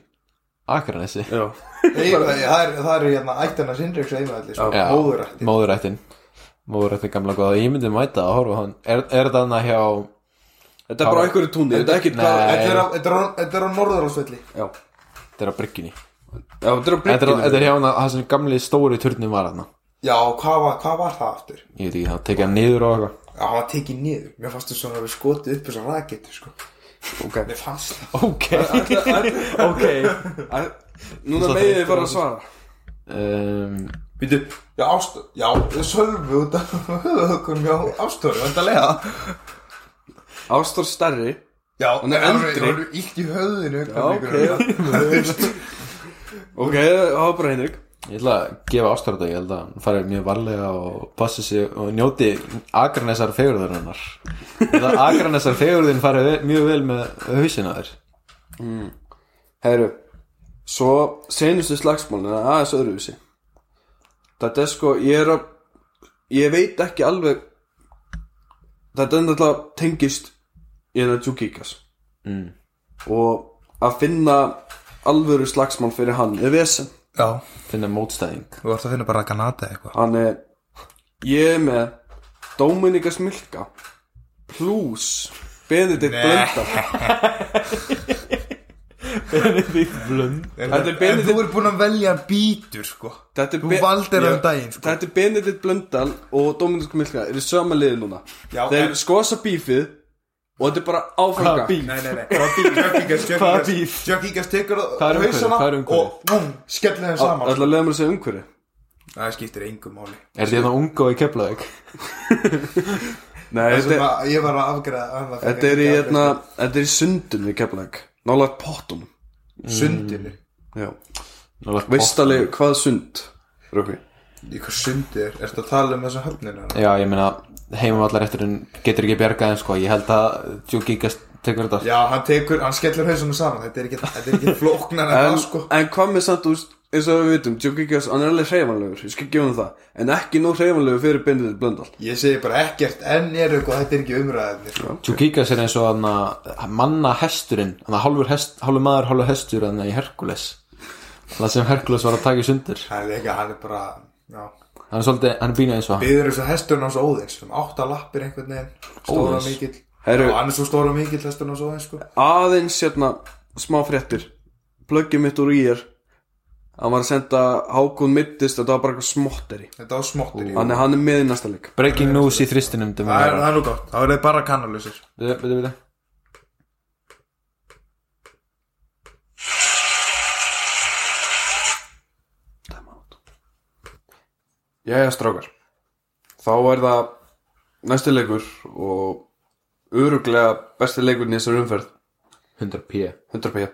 S1: Akranesi
S4: Já
S3: Nei, Það er, það er hérna ættana sinnreiks heimaðallu, sko.
S1: Já.
S3: Móðurætti.
S1: Móðurættin Móðurættin gamla góða Ég myndi mæta að horfa á hann Er, er þetta hann hjá
S4: Þetta er bara á einhverju túni, þetta er ekki
S1: Nei.
S3: Þetta er á- þetta er á- þetta er á norðurásvelli.
S4: Já,
S1: Þetta er á bryggjunni
S4: já, þetta er á
S1: Þetta er,
S4: bryggjunni
S1: þetta er hjá hann Það sem gamli stóri turnin var hann
S3: Já, hvað var, hvað var það aftur?
S1: Ég veit ekki Það tekja hann niður og eitthvað
S3: Já, hann var tekið niður. Mér fannst þess að hann hafi skotið upp þessar raketur, sko.
S4: Ok
S3: Mér fannst það.
S1: Ok
S4: Ok Núna
S1: Svo
S4: megið
S1: þreyttur
S4: þið
S1: á
S4: bara að svara
S1: um,
S3: Býtu, já, ást, já, ég sölvi út af höfuðökunum hjá ástóri, vandarlega.
S4: Ástór stærri
S3: Já,
S4: Hún er
S3: það
S4: eldri.
S3: voru illt í höfðinu.
S4: Já, ok Ok, það var bara Henrik
S1: Ég ætla að gefa ástörða Ég held að hann fari mjög varlega Og passi sig Og njóti Akranesar fegurðar hennar Akranesar fegurðin fari ve- mjög vel með hausina þér
S4: Herru Svo senustu slagsmálinu það er aðeins öðruvísi Þetta er sko, ég er að Ég veit ekki alveg Þetta er náttúrulega tengist Ég er að Júkíkas mm. Og að finna alvöru slagsmál fyrir hann er vesen
S3: Já,
S1: Finna mótstæðing
S3: þú vart að finna bara að ganata eitthvað.
S4: hann er ég er með Dominika Smilka plus Benedikt Blöndal Þetta er
S3: En
S4: Benedikt
S3: þú er búin að velja bítur, sko.
S4: þetta er
S3: Þú
S4: Be-
S3: valdir
S4: Ég-
S3: hann daginn, sko.
S4: þetta er Benedikt Blöndal og Dominika Smilka eru í sama liði núna
S3: Já,
S4: þeir
S3: en-
S4: skosa bífið og þetta er bara áfranga
S3: Nei, nei, nei. Hvaða
S1: bíf?
S3: Jack Eagles tekur
S1: Hvað er umhverfið?
S3: hausana
S1: Hvað er umhverfið?
S3: og búm, skellir þeim saman.
S4: ætla að leiða mér að segja umhverju
S3: Það skiptir engum máli.
S1: Er þetta hérna unga og í Keflavík?
S4: Nei,
S3: Þetta
S4: þetta,
S3: er, ég var að afgræða annað
S4: þetta er í hérna,
S3: sko.
S4: þetta er í sundun við Keflæk nálægt pottum
S3: Sundinu
S1: Nálægt
S4: veistali hvað sund Rökkvi
S3: Í hvað sundi er? Ertu að tala um þessa höfnina?
S1: Já, ég meina, heimavallarrétturinn getur ekki bjargað en sko, ég held að Joe Gigas tekur þetta
S3: Já, hann tekur, hann skellir hausana saman Þetta er ekki, þetta er ekki flóknar en það
S4: en,
S3: sko
S4: en hvað með samt úr eins og við vitum, Joe Gigas, hann er alveg hreyfanlegur ég skal gefa hann það, en ekki nóg hreyfanlegur fyrir Benedikt Blöndal
S3: Ég segi bara ekkert enn er eitthvað, þetta er ekki sko. umræðið
S1: Tjúkíkas er eins og hann manna hesturinn, hann hálfur, hest, hálfur maður hálfur hestur hann í Herkules það sem Herkules var að taka í sundur
S3: Hann er ekki, hann er bara já.
S1: hann er svolítið, hann er býna eins og hann
S3: Byður þess að hesturinn hans Óðins um átta lappir einhvern veginn Stóra
S1: Óðins.
S3: mikill
S4: Herru.
S3: Já, Hann er svo stóra mikill hesturinn hans Óðins sko.
S4: aðeins hérna, smá fréttir plöggið mitt úr í er hann var að senda Hákon mittist þetta var bara eitthvað smotteri
S3: Þetta var smottir í
S4: hann er, hann er með í næsta leik
S1: Breaking news í þristinum dömur.
S3: Það er, það er nú gott, þá er þið bara kannalusir
S1: Bíddu, bíddu, bíddu.
S4: Jæja strákar Þá er það næsti leikur og öruglega besti leikurinn í þessari umferð
S1: 100 p
S4: 100 pæja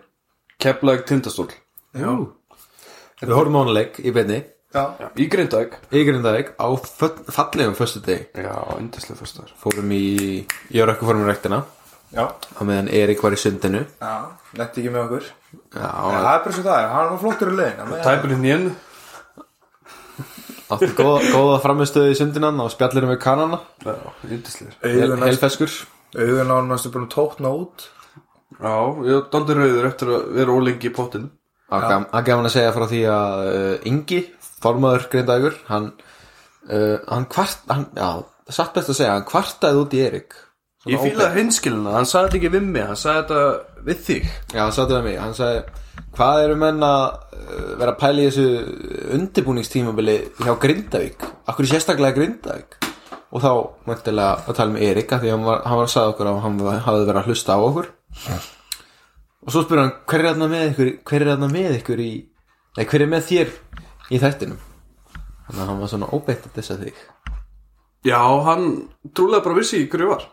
S4: Keflag tindastól
S1: Við horfum á hann leik í beinni
S3: Já,
S4: Í Grindavík
S1: í Grindavík á föll- fallegum föstu deg
S4: Já, yndislega fyrstar
S1: fórum í, ég var ekki fórum í rektina
S3: já,
S1: á meðan Erik var í sundinu
S3: já Letti ekki með okkur
S1: Já,
S3: Það er bara svo það er, hann var flottur í leiðin hann-
S4: Tæpurinn í enn
S1: áttu góða, góða framistöðu í sundinan og spjallirum við kanana
S4: Já, yndislega
S3: Augun hans-
S1: Helfeskur
S3: Augun á hann næstu búin að tókna út
S4: Já, ég er daldur rauður eftir að vera ólengi í pottinu
S1: Það gam- það er gaman að segja frá því að uh, Ingi, formaður Grindavíkur hann, uh, hann kvart hann, já, satt best að segja, hann kvartaði út í Erik
S4: Ég fíla hinskilina, hann sagði þetta ekki við mig Hann sagði þetta við þig
S1: Já, hann sattu það mig, hann sagði hvað eru menn að uh, vera að pæla í þessu undirbúningstímabili hjá Grindavík, akkur sérstaklega Grindavík og þá mæntilega að tala með Erik, af því að hann var, hann var að sagði okkur að hann var- hafði verið að hlusta á okkur og svo spyrir hann hver er þarna með ykkur, hver er þarna með ykkur í nei, hver er með þér í þættinum þannig að hann var svona óbeitt að þessa þig
S4: Já, hann trúlega bara vissi í hverju ég var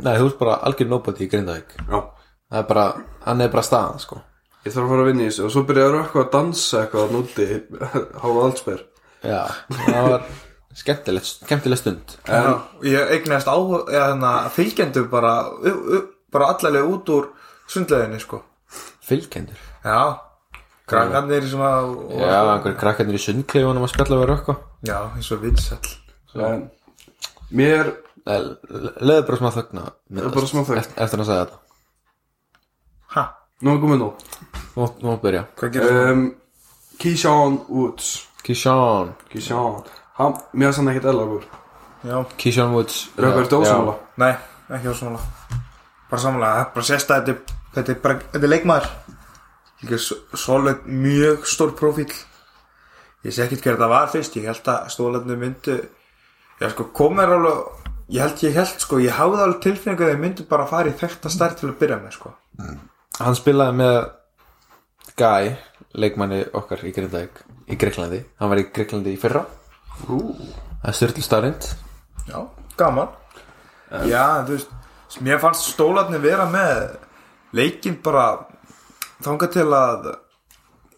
S1: Nei, þú ert bara algjör nobody í Grindavík
S4: Já,
S1: það er bara, hann er bara staðan sko
S4: Ég þarf að fara að vinna í þessu og svo byrjaði Rökkva að dansa eitthvað að núti hálfa allsber
S1: Já, það var skemmtilegt, skemmtilegt stund
S3: en, Ég eignast á, eða, hana, fylgjendur bara, u, u, bara allalega út úr sundleginni sko.
S1: Fylgjendur
S3: Já, krakkarnir sem að
S1: Já, einhverjir krakkarnir í sundkleifunum að spjalla við rökka
S3: já, eins og vinsall
S4: en mér
S1: Leður bara smá þögna
S4: Leðu bara smá þögn.
S1: Eftir að hann sagði þetta
S3: Ha,
S4: nú er komið nú
S1: Nú, nú að byrja
S3: hvað gerir það?
S4: um, Keyshawn Woods
S1: Keyshawn
S4: Keyshawn hann, mér sann ekkert ellagur
S3: Já,
S1: Keyshawn Woods
S4: Rökkva er dósamála
S3: nei, ekki á svona Bara samanlega, það er bara sérst að þetta, er- þetta, er bara, þetta er leikmaður Líka s- solid, mjög stór profíl Ég sé ekkert hver það var fyrst Ég held að stólarnir myndu Já, sko, komir alveg Ég held, ég held, sko, ég hafði alveg tilfinningu að þeir myndu bara að fara í þekta stærð til að byrja með, sko
S1: Já. Hann spilaði með Guy, leikmanni okkar í Grindavík Í Greiklandi Hann var í Greiklandi í fyrra Það er styrlu starind
S3: Já, gaman Já, þú veist Mér fannst stólarnir vera með leikinn bara þangað til að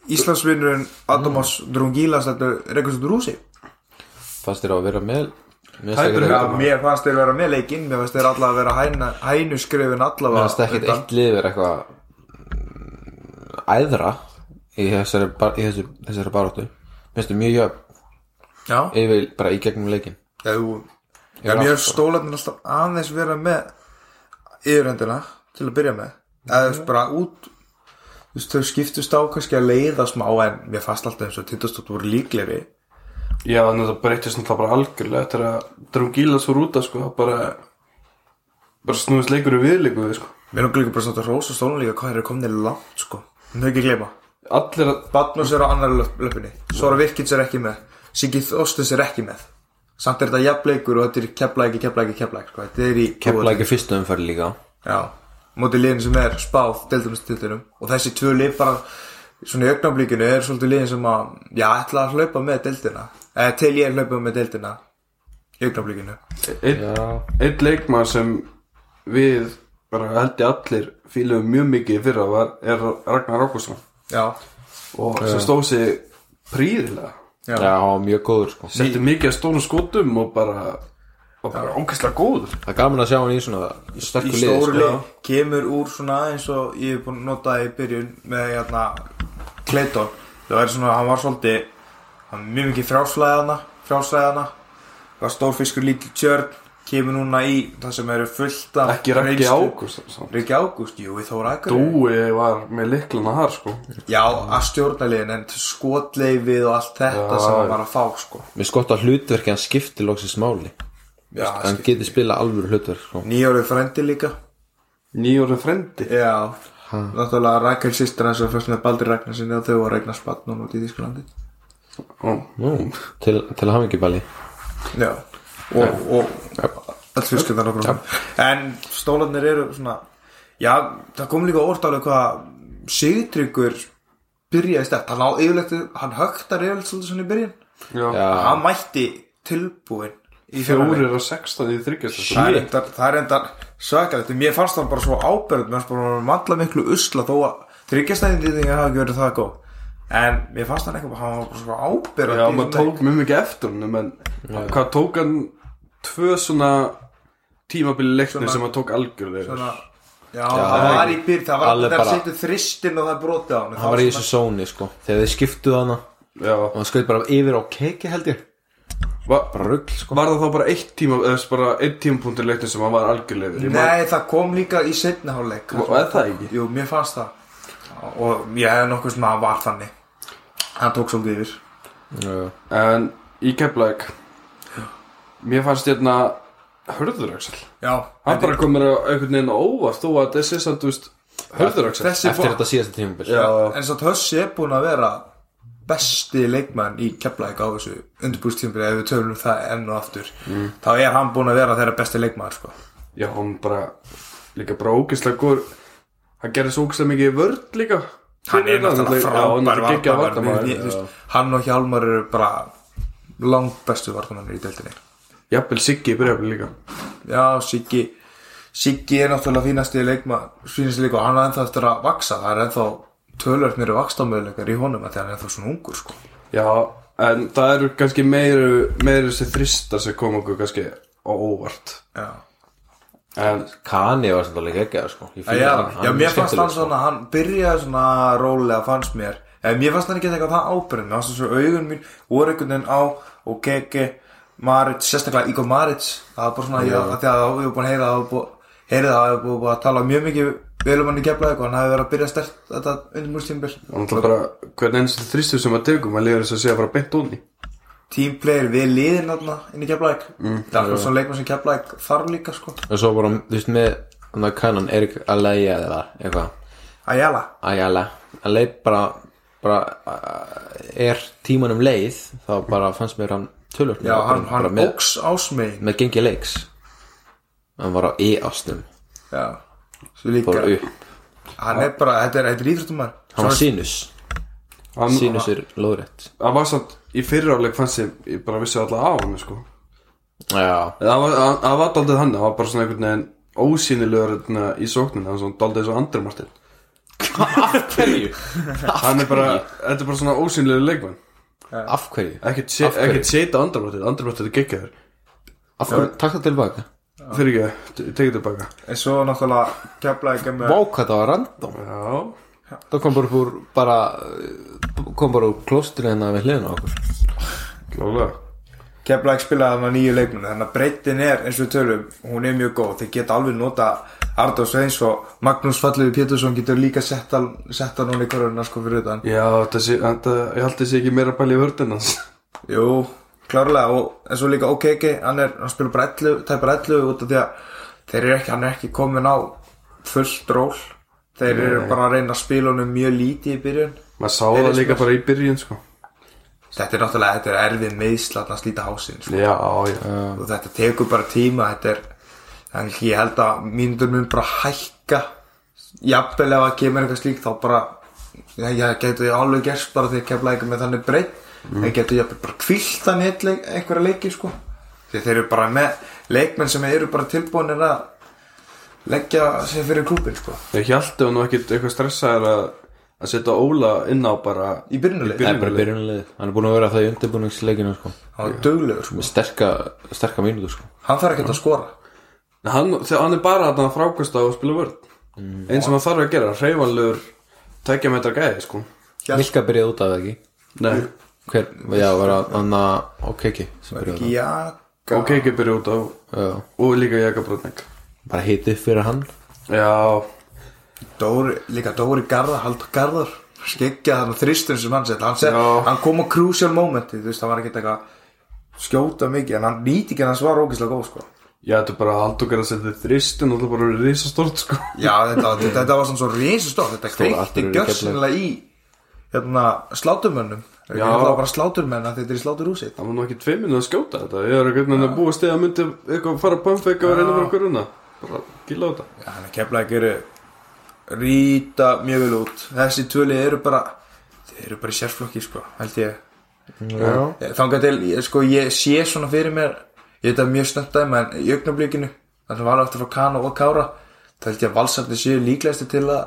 S3: Íslandsvinnurinn Adamos mm. Drungilas þetta reykast út úr húsi
S1: Fannst þér á að vera með Mér
S4: Heldur
S1: stakir
S4: við
S1: ekki
S4: að-
S3: Mér fannst þeir vera með leikinn Mér fannst þeir allavega að vera hæna, hænuskrefin allavega
S1: Mér finnst ekkert
S3: undan.
S1: eitt lið er eitthvað mm, æðra í þessari, bar, í þessu, þessari baróttu Mér finnst það mjög jöfn
S3: Já,
S1: yfir bara í gegnum leikin
S3: Já, þú, já mér fannst stólarnir alltaf aðeins vera með yfirhendina til að byrja með eða þú veist bara út þú veist þau skiptust á kannski að leiða smá en mér fannst alltaf eins og tindastótt voru líklegri
S4: já, þannig að það breytist náttúrulega bara algjörlega eftir að Drangílas voru út að sko það bara bara snúðist leikur í viðleiku við, sko.
S3: Mér erum líka bara svona að rósa stólan líka hvað þeir eru komnir langt sko. Mér ekki gleyma.
S4: allir að
S3: Batnus er á annar löp, löpunni. Sora Virkins er ekki með. Siggi Þorstins er ekki með. Samt er þetta jafnleikur og þetta er kepla ekki, kepla ekki, kepla ekki. Sko. Þetta er í...
S1: Kefla ekki fyrstu umfæri líka
S3: Já. Móti liðin sem er spáð deildumstildinum. Og þessi tvö lið bara svona í augnablíkinu er svolítið liðin sem að já, ætla að hlaupa með deildina. Eða til ég hlaupa með deildina. Í augnablíkinu.
S1: Já.
S4: einn ein leikmað sem við bara held ég allir fíluðum mjög mikið í fyrra var, er Ragnar Rákusson
S3: Já.
S4: og sem stóð sig príðilega
S3: Já.
S1: Já, hann var mjög góður sko
S4: setti mikið að stónu skotum og bara og bara ógæslega góður
S1: Það er gaman að sjá hann í svona í
S3: í
S1: sterku liði
S3: stóru
S1: sko.
S3: lið kemur úr svona eins og ég hef búin að nota í byrjun með hérna Clayton það var svona, hann var svolítið hann var mjög mikið frjálslæðana frjálslæðana það var stór fiskur lítil tjörn kemur núna í það sem eru fullt af
S4: Ekki Raggi
S3: reynslu.
S4: Ágúst samt.
S3: Raggi Ágúst, jú, við þóra Akureyri
S4: Dúi var með liklana þar sko
S3: já, að stjórnarlegin en skotleifið og allt þetta
S4: Já,
S3: sem hann
S4: já.
S3: var að fá sko
S1: Mér skott að hlutverki hann skipti loksins máli
S3: já,
S1: Hann geti spila alvöru hlutverk sko.
S3: nýjórið frendi líka
S4: Nýjórum frendi
S3: já, náttúrulega Rakel sýstir hans og fyrst með Baldur Ragnarsinni og þau var Ragnar Spatnón út í Þísklandi
S4: Ó.
S1: Til, til að hafa ekki bali
S3: Já, og, og alls fjölskyldar okkur En stólarnir eru svona Já, það kom líka óvart alveg hvað Sigtryggur byrjaði stætt Hann á yfirlegt, hann högtar yfirlegt svolítið svona í byrjun
S4: Já.
S1: Já,
S3: Hann mætti tilbúin í fjóri
S4: Fjórir og sextán í þryggjast
S3: Það er endar, það er endar svakalegt Mér fannst hann bara svo ábyrgð Mér fannst bara hann valla miklu usla Þó að þryggjastæðin því að hafa ekki verið það góð En mér fannst hann eitthvað, hann var bara svo ábyrgð
S4: Já, maður tók mjög mikið eftir honum en hvað tók hann tvö svona tímabili leikni
S3: Svona-
S4: sem hann tók algjörlega
S3: svona Já, það var í byrð, það var
S1: Alveg
S3: það
S1: bara-
S3: setið þristinn og það brotið á hann
S1: hann var í þessu sóni sko Þegar þið skiptuðu hana
S4: Já,
S1: Og hann skauði bara yfir á keiki held ég
S4: Va
S1: Bara rugl sko
S4: var það þá bara eitt tíma eða þess bara eitt tímapunktur leikni sem hann var algjörlega yfir? Ég man-
S3: Nei, það kom líka í setna hálfleik
S4: Og er það ekki?
S3: Jú, mér fannst það Og ég hefði nokkuð sem að var þannig Hann tók svolítið yfir
S1: Já, já.
S4: En í keflæk Mér fannst hérna Hörður Axel
S3: Já,
S4: Hann bara komur á einhvern veginn á óvart þó að þessi samt, þú veist Hörður Axel
S3: þessi
S1: Eftir
S3: fór
S1: þetta síðasta tímabil
S4: Já,
S3: En svo Hössi er búin að vera besti leikmann í Keflæk á þessu undirbúrstímpil ef við tölum um það enn og aftur þá er hann búin að vera þeirra besti leikmann sko.
S4: já, hann bara líka bara ógeðslega góður Hann gerði svo ógeðslega mikið í vörð líka hérna,
S3: hann er náttúrulega frábær
S4: geggja
S3: varnarmaður. Ég- þú
S4: vartamæður
S3: veist, hann og Hjálmar eru bara langt bestu vartamannir í deildinni
S4: Jafnvel Siggi í bregðafli líka
S3: já, Siggi Siggi er náttúrulega fínasti leikma fínasti leikma og hann er ennþá eftir að vaksa það er ennþá tölvöld mér vakstamöðuleikar í honum að því hann er ennþá svona ungur sko.
S4: Já, en það eru kannski meiru meiru þessi þrista sem kom okkur kannski á óvart
S3: já,
S4: En
S1: Kani var samt alveg ekki sko. Ég
S3: já,
S1: fíla
S3: já,
S1: hann, hann er
S3: mér fannst
S1: skemmtilegur,
S3: hann svona hann byrjaði svona rólega fannst mér en mér fannst hann ekki eitthvað það ábyrðin mér fannst þessu augun mín voru einhvern veginn á og Keke, Marits, sérstaklega Ígo Marits það var bara svona, já, að því að það hefur búin að heyra það hefur búin að heyra það að tala mjög mikið vel um hann í keflaði og hann hefði verið að byrja stert þetta undirmúrstímbil
S4: hann bara hvern einstu þristu sem að tegum að liður þess að sé bara beint onni
S3: tímplayer við liðin þarna inn í Keflæk það er svona leikmenn sem Keflæk þarf líka sko
S1: En svo bara, þú veist, með hann að kanan Erik Alaya eða eitthvað
S3: Ajala,
S1: Ayala Hann leið bara, bara uh, er tímanum leið þá bara fannst mér hann tölur
S3: já hann,
S1: bara,
S3: hann
S1: bara með,
S3: óks ásmegin
S1: með gengi leiks hann var á e-ástum
S3: já, svo líka
S1: bara upp,
S3: hann er bara, þetta er, þetta er íþróttumar
S1: hann var sínus
S4: Hann,
S1: sínus er lóðrétt
S4: hann var samt í fyriráleik fannst ég, ég bara vissi alltaf á hann sko.
S1: já,
S4: En Það var, hann- hann var daldið hann, það var bara svona einhvern veginn ósýnilegur hérna, í sókninu, það var svona daldið eins og Andri Martin
S1: af hverju
S4: Hann er bara, þetta er bara svona ósýnilegur leikmann
S1: af hverju,
S4: Ekkert se-
S1: Af hverju?
S4: ekkert seita Andri Martin, Andri Martin er geggjaður
S1: af hverju, takk það tilbaka
S4: Fyrir ekki, te- tekið tilbaka
S3: en svo náttúrulega Keflæk er með
S1: vák hvað það var random
S4: Já,
S1: það kom bara upp úr bara, uh, kom bara úr klósturinn hérna við hliðina á okkur
S4: klálega
S3: Keflæk spilaði þarna nýju leikmenn þannig að breytin er eins og við tölum hún er mjög góð, þeir geta alveg nota Arda Sveins og Magnús Falliði Pétursson getur líka sett hann sett hann hún í korunna sko fyrir utan
S4: Já, þessi, þetta, ég held þessi ekki meira bæli í vördin hans
S3: Jú, klárlega og en svo líka OKG, hann er, hann spilur bara 11, tæpar 11 út af því að þeir eru ekki, hann er ekki komin á fullt ról þeir eru bara að reyna að spila honum mjög lítið í byrjun
S4: Maður sá það líka bara í byrjun, sko
S3: þetta er náttúrulega, þetta er erfið meðsla að slíta hásinn, sko.
S4: Já, já
S3: og þetta tekur bara tíma þetta er, en ég held að mínundur mun bara hækka jafnvel ef að kemur eitthvað slíkt þá bara, já, já, getur ég alveg gerst bara þegar kemla eitthvað með þannig breytt mm. en getur jafnvel bara kvilt þannig einn leik- einhverja leiki, sko því þeir eru bara með leikmenn sem eru bara tilbúinir að leggja sér fyrir klúbin, sko
S4: Ég held að nú ekkit eitthvað stressaður að að setja Óla inn á bara
S3: í byrjunuleik,
S1: það er bara byrjunarlið hann er búin að vera það í undirbúningsleikinu sko.
S3: hann er duglegur, sko
S1: með sterka, sterka mínútu sko.
S3: hann þarf ekkert að skora
S4: Nei, hann, þegar hann er bara að hann Mm. frákvæmst á að spila vörd eins sem hann þarf að gera, hreyfanlegur tækja metra gæði, sko
S3: Hjalt-
S1: Milka byrjaði út af það ekki
S4: Nei,
S1: Hver, já, var það Anna Okeki sem byrjaði út
S3: Jaka
S4: ok, ekki byrja út á
S1: af það Já,
S4: Og líka jakabrótning
S1: bara hiti upp fyrir hann
S4: Já,
S3: Dóri, líka Dóri Garðar, Haldur Garðar skeggja þannig þristun sem hann sett hann, set,
S4: Já.
S3: hann kom á crucial momenti þú veist, hann var ekki eitthvað skjóta mikið en hann nýti ekki en hans var ógislega góð sko.
S4: já, þetta er bara að haldokar að setja þristin og það bara er risastort sko
S3: já, þetta, þetta, þetta var svona svo risastórt þetta kveikti
S1: atburður í
S3: gjörsinlega í hérna, sláturmönnum það
S4: Já.
S3: var bara sláturmenn að þetta er í sláturúsið
S4: Það var nú ekki tvei minni að skjóta þetta Ég er ekki hvernig að búa stið að myndi eitthvað fara að pamfeka og reyna fyrir okkur runa Bara gilla á þetta
S3: já, hann er kemla að gera rýta mjög vel út þessi tvöli eru bara þeir eru bara í sérflokki sko, held ég
S1: Já
S3: Þangar til, ég- sko, ég sé svona fyrir mér Ég veit að mjög snögt dæmi En í augnablikinu, þannig var eftir frá Kana og Kára Það held ég að valsandi séu líklegasti til að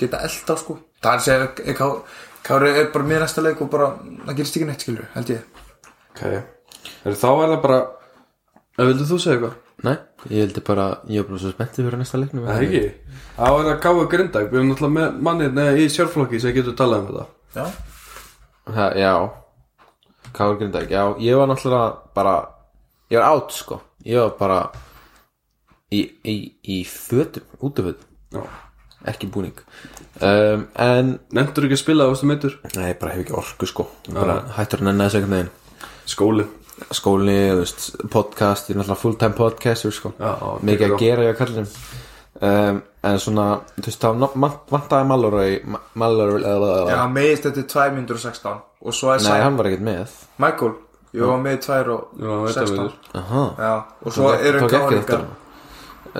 S3: Geta elda, sko Það er að segja, Ká- Kári er bara mér næsta leik Og bara, það gerist ekki neitt, skilur Held ég,
S4: Ok er, Þá er það bara Eða vildu þú segja eitthvað?
S1: Nei, ég heldur bara, ég er bara svo spenntið fyrir næsta leiknum
S4: Það er ekki Þá er það káu grindag Við erum náttúrulega með mannið neða í sjálflokki sem getur talað um þetta
S3: já
S1: Ha, já, Káur Grindavík Já, ég var náttúrulega bara Ég var átt sko Ég var bara Í, í, í fötum, útufötum
S4: Já
S1: Ekki búning um, En,
S4: Nefndur ekki að spila á þessu meittur?
S1: nei, bara hef ekki orku sko Bara hættur að nenni þessu einhvern veginn
S4: Skóli
S1: Skóli, þú veist, podcast Ég er náttúrulega fulltime podcaster sko
S4: Já, já,
S1: Mikið
S4: tekur
S1: að
S4: á.
S1: gera ég að kallum um, En svona, þú veist, þá ná- vant- vantaði Mallory Ma- Mallory
S3: Já,
S1: Nei,
S3: hann meðist þetta er 2 myndur og 16 Og svo er Sæ,
S1: hann var ekkert með
S3: Michael Jú, hann meði 2
S4: Já,
S3: og
S4: þetta
S3: 16
S4: verður.
S1: Aha
S3: Já, og svo eru
S1: Tók ekki
S3: Kári
S1: eftir
S3: líka
S1: honum.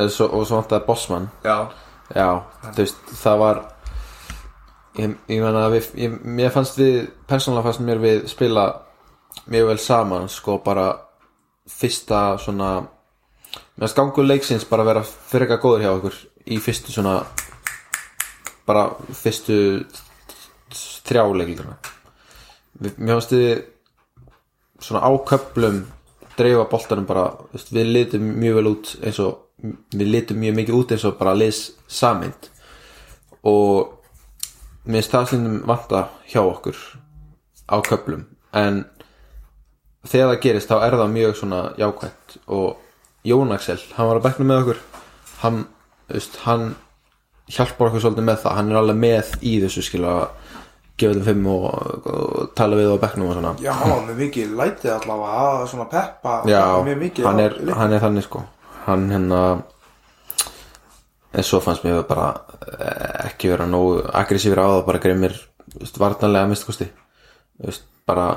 S1: Eh, svo, og svo vantaði bossmann
S3: Já,
S1: já, þú veist, það var ég, ég meina að við ég, mér fannst við, persónulega fannst mér við spila mjög vel saman sko bara fyrsta svona mér fannst gangur leiksins bara vera fyrir eitthvað góður hjá okkur í fyrstu svona bara fyrstu þrjáleikilina mér fannst við svona áköplum dreifa boltanum bara þú veist, við litum mjög vel út eins og við litum mjög mikið út eins og bara liðs samind og mér finnst það stundum vanta hjá okkur á köplum en þegar það gerist þá er það mjög svona jákvæmt og Jón Axel, hann var að bekna með okkur hann, þú veist, hann hjálpar okkur svolítið með það hann er alveg með í þessu skilur að gefa þeim fimm og, og tala við á bekknum og svona
S3: já, hann var með mikið lætið allavega að svona peppa
S1: Já,
S3: mjög mikið
S1: hann
S3: á
S1: er,
S3: leiknum.
S1: hann er þannig sko Hann hérna En svo fannst mér það bara eh, ekki vera nógu aggressífur á það bara grimmir þú veist, varnarlega mistkosti Þú veist, bara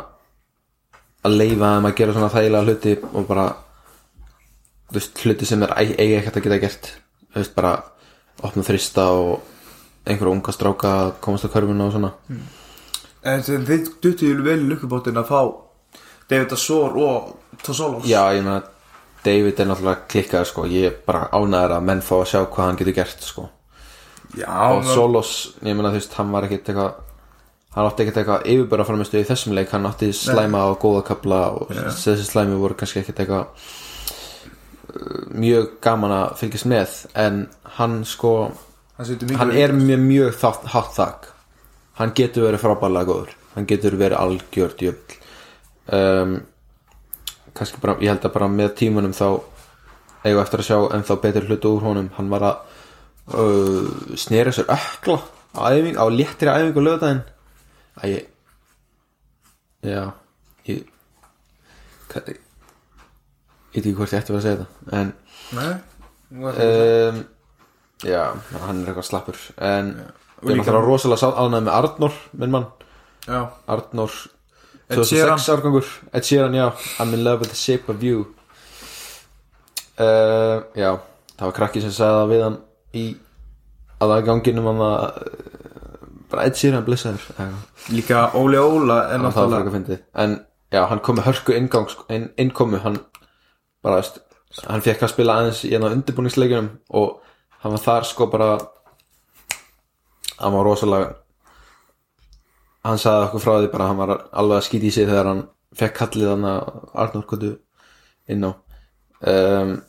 S1: að leifa þeim að gera svona þægilega hluti og bara þú veist, hluti sem er eigi ekkert að geta gert Þú veist, bara opna þrista og einhverja unga stráka að komast á körfuna og svona
S3: En þeim þið duttu vel í lukkubótin að fá David Assor og Tosolos
S1: Já, ég meina David er náttúrulega klikkað sko, ég er bara ánæður að menn fá að sjá hvað hann getur gert sko
S3: já
S1: og Solos, ég meina þú veist, hann var ekkit eitthvað hann átti ekkit eitthvað yfirbara framistu í þessum leik, hann átti slæma og góða kapla og þessi slæmi voru kannski ekkit eitthvað uh, mjög gaman að fylgjast með en hann sko
S3: hann setur mikið
S1: hann er mjög, mjög þátt, hátt þak hann getur verið frábæðlega góður hann getur verið algjörd jöfn um, kannski bara ég held að bara með tímanum þá eigum við eftir að sjá ennþá betur hlutu úr honum hann var að uh, snera sér ökla á, æfing, á léttri æfingu lögðaðin að ég já ég hvað, ég veit ekki hvort ég ætti að vera að segja þetta en
S3: eh? Nei
S1: um, Já, hann er eitthvað slappur En ég er náttúrulega rosalega ánægð með Arnór Minn mann,
S3: Já
S1: Arnór
S3: Ed Sheeran.
S1: 2006 árgangur Ed Sheeran, já, I'm in love with the shape of you uh, Já, það var krakki sem sagði það við hann Í að það ganginum hann að uh, Bara Ed Sheeran blessaður Já,
S3: Líka Óli Óla er
S1: Það var
S3: náttúrulega
S1: frekar fyndið En já, hann kom með hörku inngang, inn, innkomu Hann bara, veist Hann fekk að spila aðeins í enn á undirbúningsleikjum Og hann var þar sko bara Hann var rosalega Hann sagði okkur frá því bara að Hann var alveg að skýti í sig þegar hann Fekk kallið hann að Arnur Kutu Inn á Ehm, um,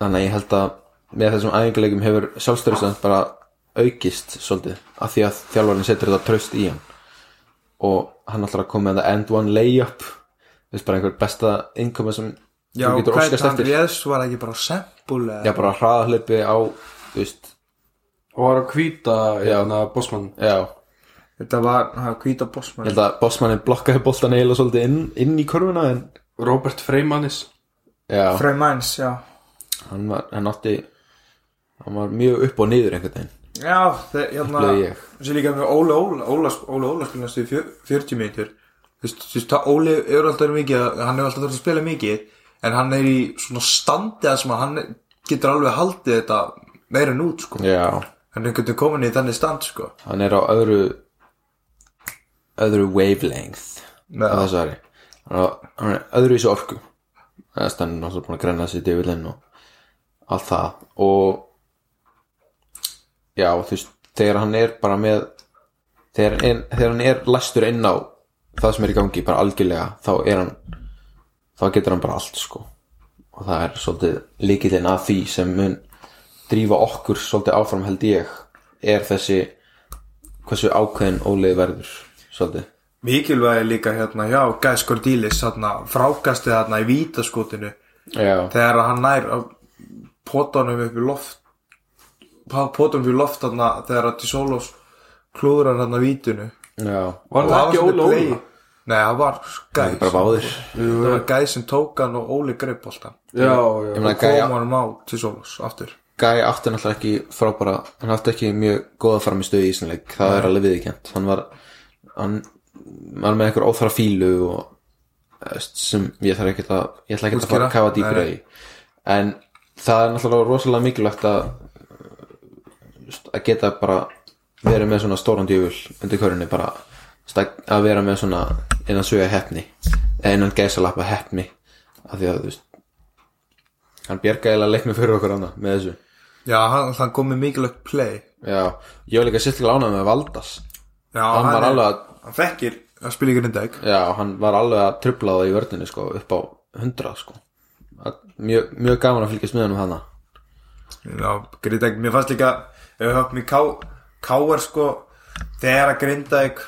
S1: Þannig að ég held að Með þessum æfinguleikum hefur sjálfstörðstönd bara aukist svolítið af því að þjálfarinn setur þetta tröst í hann og hann ætlar að koma með það end one layup þú veist bara einhver besta innkoma sem
S3: Já,
S1: þú getur
S3: hvað
S1: óskast
S3: hann
S1: eftir
S3: réðst var ekki bara á sempul
S1: já bara hraðahlaupi á þú veist
S4: og var að hvíta hérna bossmann
S1: já ég
S3: Þetta var, það var hvíta bossmann
S1: held að bossmannin blokkaði boltan eiginlega svolítið inn, inn í körfuna en
S4: Robert Freymanis
S1: já
S3: Freymans, já
S1: hann var hann átti hann var mjög upp og niður einhvern veginn
S3: Já, þeir, hérna
S1: Upplöði ég.
S3: Þessi líka með Óla Óla Óla, Óla, Óla spila næstu í fjör- 40 mínútur Þú veist, þú veist, það Óli er alltaf mikið að- Hann er alltaf þurft að spila mikið En hann er í svona standi að sem að hann getur alveg haldið þetta meira en út, sko
S1: já
S3: Hann er einhvern veginn komin í þannig stand, sko
S1: hann er á öðru öðru wavelength
S3: Já.
S1: á þessu ári hann er, á- hann er öðru í þessu orku þess að hann er náttúrulega búin að græna sér djöfilinn og allt það og já þú veist þegar hann er bara með þegar, hann er, þegar hann er læstur inn á það sem er í gangi bara algjörlega þá er hann þá getur hann bara allt sko og það er svolítið líkilinn að því sem mun drífa okkur svolítið áfram held ég er þessi hversu ákveðin ólið verður svolítið
S3: Mikilvæg er líka hérna, já, Gæs Cordílis hérna, Frákastið hérna í vítaskotinu
S1: já,
S3: Þegar hann nær að Pótanum upp í loft Pótanum upp í loft hérna, Þegar að Tisolos klúður hann hérna vítinu
S1: já
S4: Var
S3: Og
S4: það ekki
S3: svolítið
S4: Óla
S3: play.
S4: Óla?
S3: Nei, það var
S1: það
S3: gæs
S1: er bara báðir
S3: Það var gæs sem tók hann og Óli greip alltaf
S4: Já,
S1: Ég
S4: já
S1: meina,
S3: og
S1: Gæja-
S3: kom hann á til Solos aftur
S1: Gæi átti náttúrulega ekki frábæra hann átti ekki mjög góða framistuð í ísnleik það er alveg viðkjönt hann var, hann var með einhver óþara fílu og eh, sem ég þarf ekkert að ég ætla ekkert að fara að
S3: Útskýra?
S1: kafa dýpra í en það er náttúrulega rosalega mikilvægt að að geta bara verið með svona stóran djöful undir körunni bara stæk, að vera með svona innan sögja hefni eða innan gæsalappa hefni af því að þú veist hann bjargaði eiginlega leiknum fyrir okkur annað með þessu
S3: Já, hann, hann kom með mikilvægt play
S1: Já, ég var líka sérstaklega ánægð með Valdas
S3: Já,
S1: Hann var
S3: er-
S1: alveg að,
S3: Hann fekkir að spila ykkur dag
S1: já, hann var alveg að trubla það í vörðinni sko, upp á 100 sko. Að- mjög, mjög gaman að fylgjast með hann um hana
S3: Já, Grindag, mér fannst líka ef við höfum í K, K.R. sko þegar að Grindag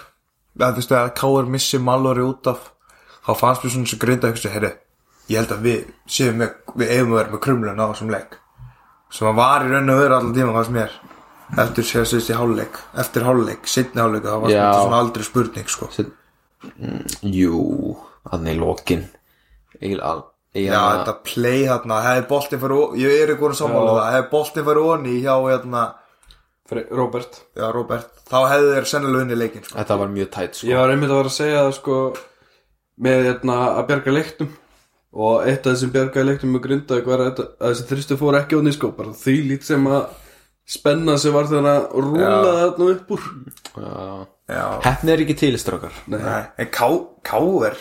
S3: að þú veist að K.R. missi Mallory út af þá fannst mér svona sem Grindag hugsa, herri, ég held að við séum með, við eigum að vera með krumlun á þessum leik sem hann var í raun og veru allan tíma fannst mér eftir sér sérst í hálfleik eftir hálfleik, sittni hálfleik þá fannst mér
S1: Já.
S3: þetta svona aldrei spurning sko
S1: Sitt, mm, Jú, hann í lokin Egil al
S3: Já, þetta play þarna, hefði boltið fyrir ég er ekki voru sammála
S4: Já.
S3: það, hefði boltið fyrir onni hjá hérna,
S4: Fre- Robert
S3: já Robert, þá hefði þeir sennilega unni leikin sko.
S1: þetta var mjög tætt sko.
S4: Ég var einmitt að vera að segja það sko með hérna að bjarga leiktum og eitt af þessum bjargaði leiktum með Grindavík var að, að þessi þristu fór ekki á nýskó bara því lít sem að spenna sem var þegar að rúla þarna upp úr
S1: Já.
S3: Já,
S1: Hefni er ekki tilistrákar
S3: Nei, en Ká, Káver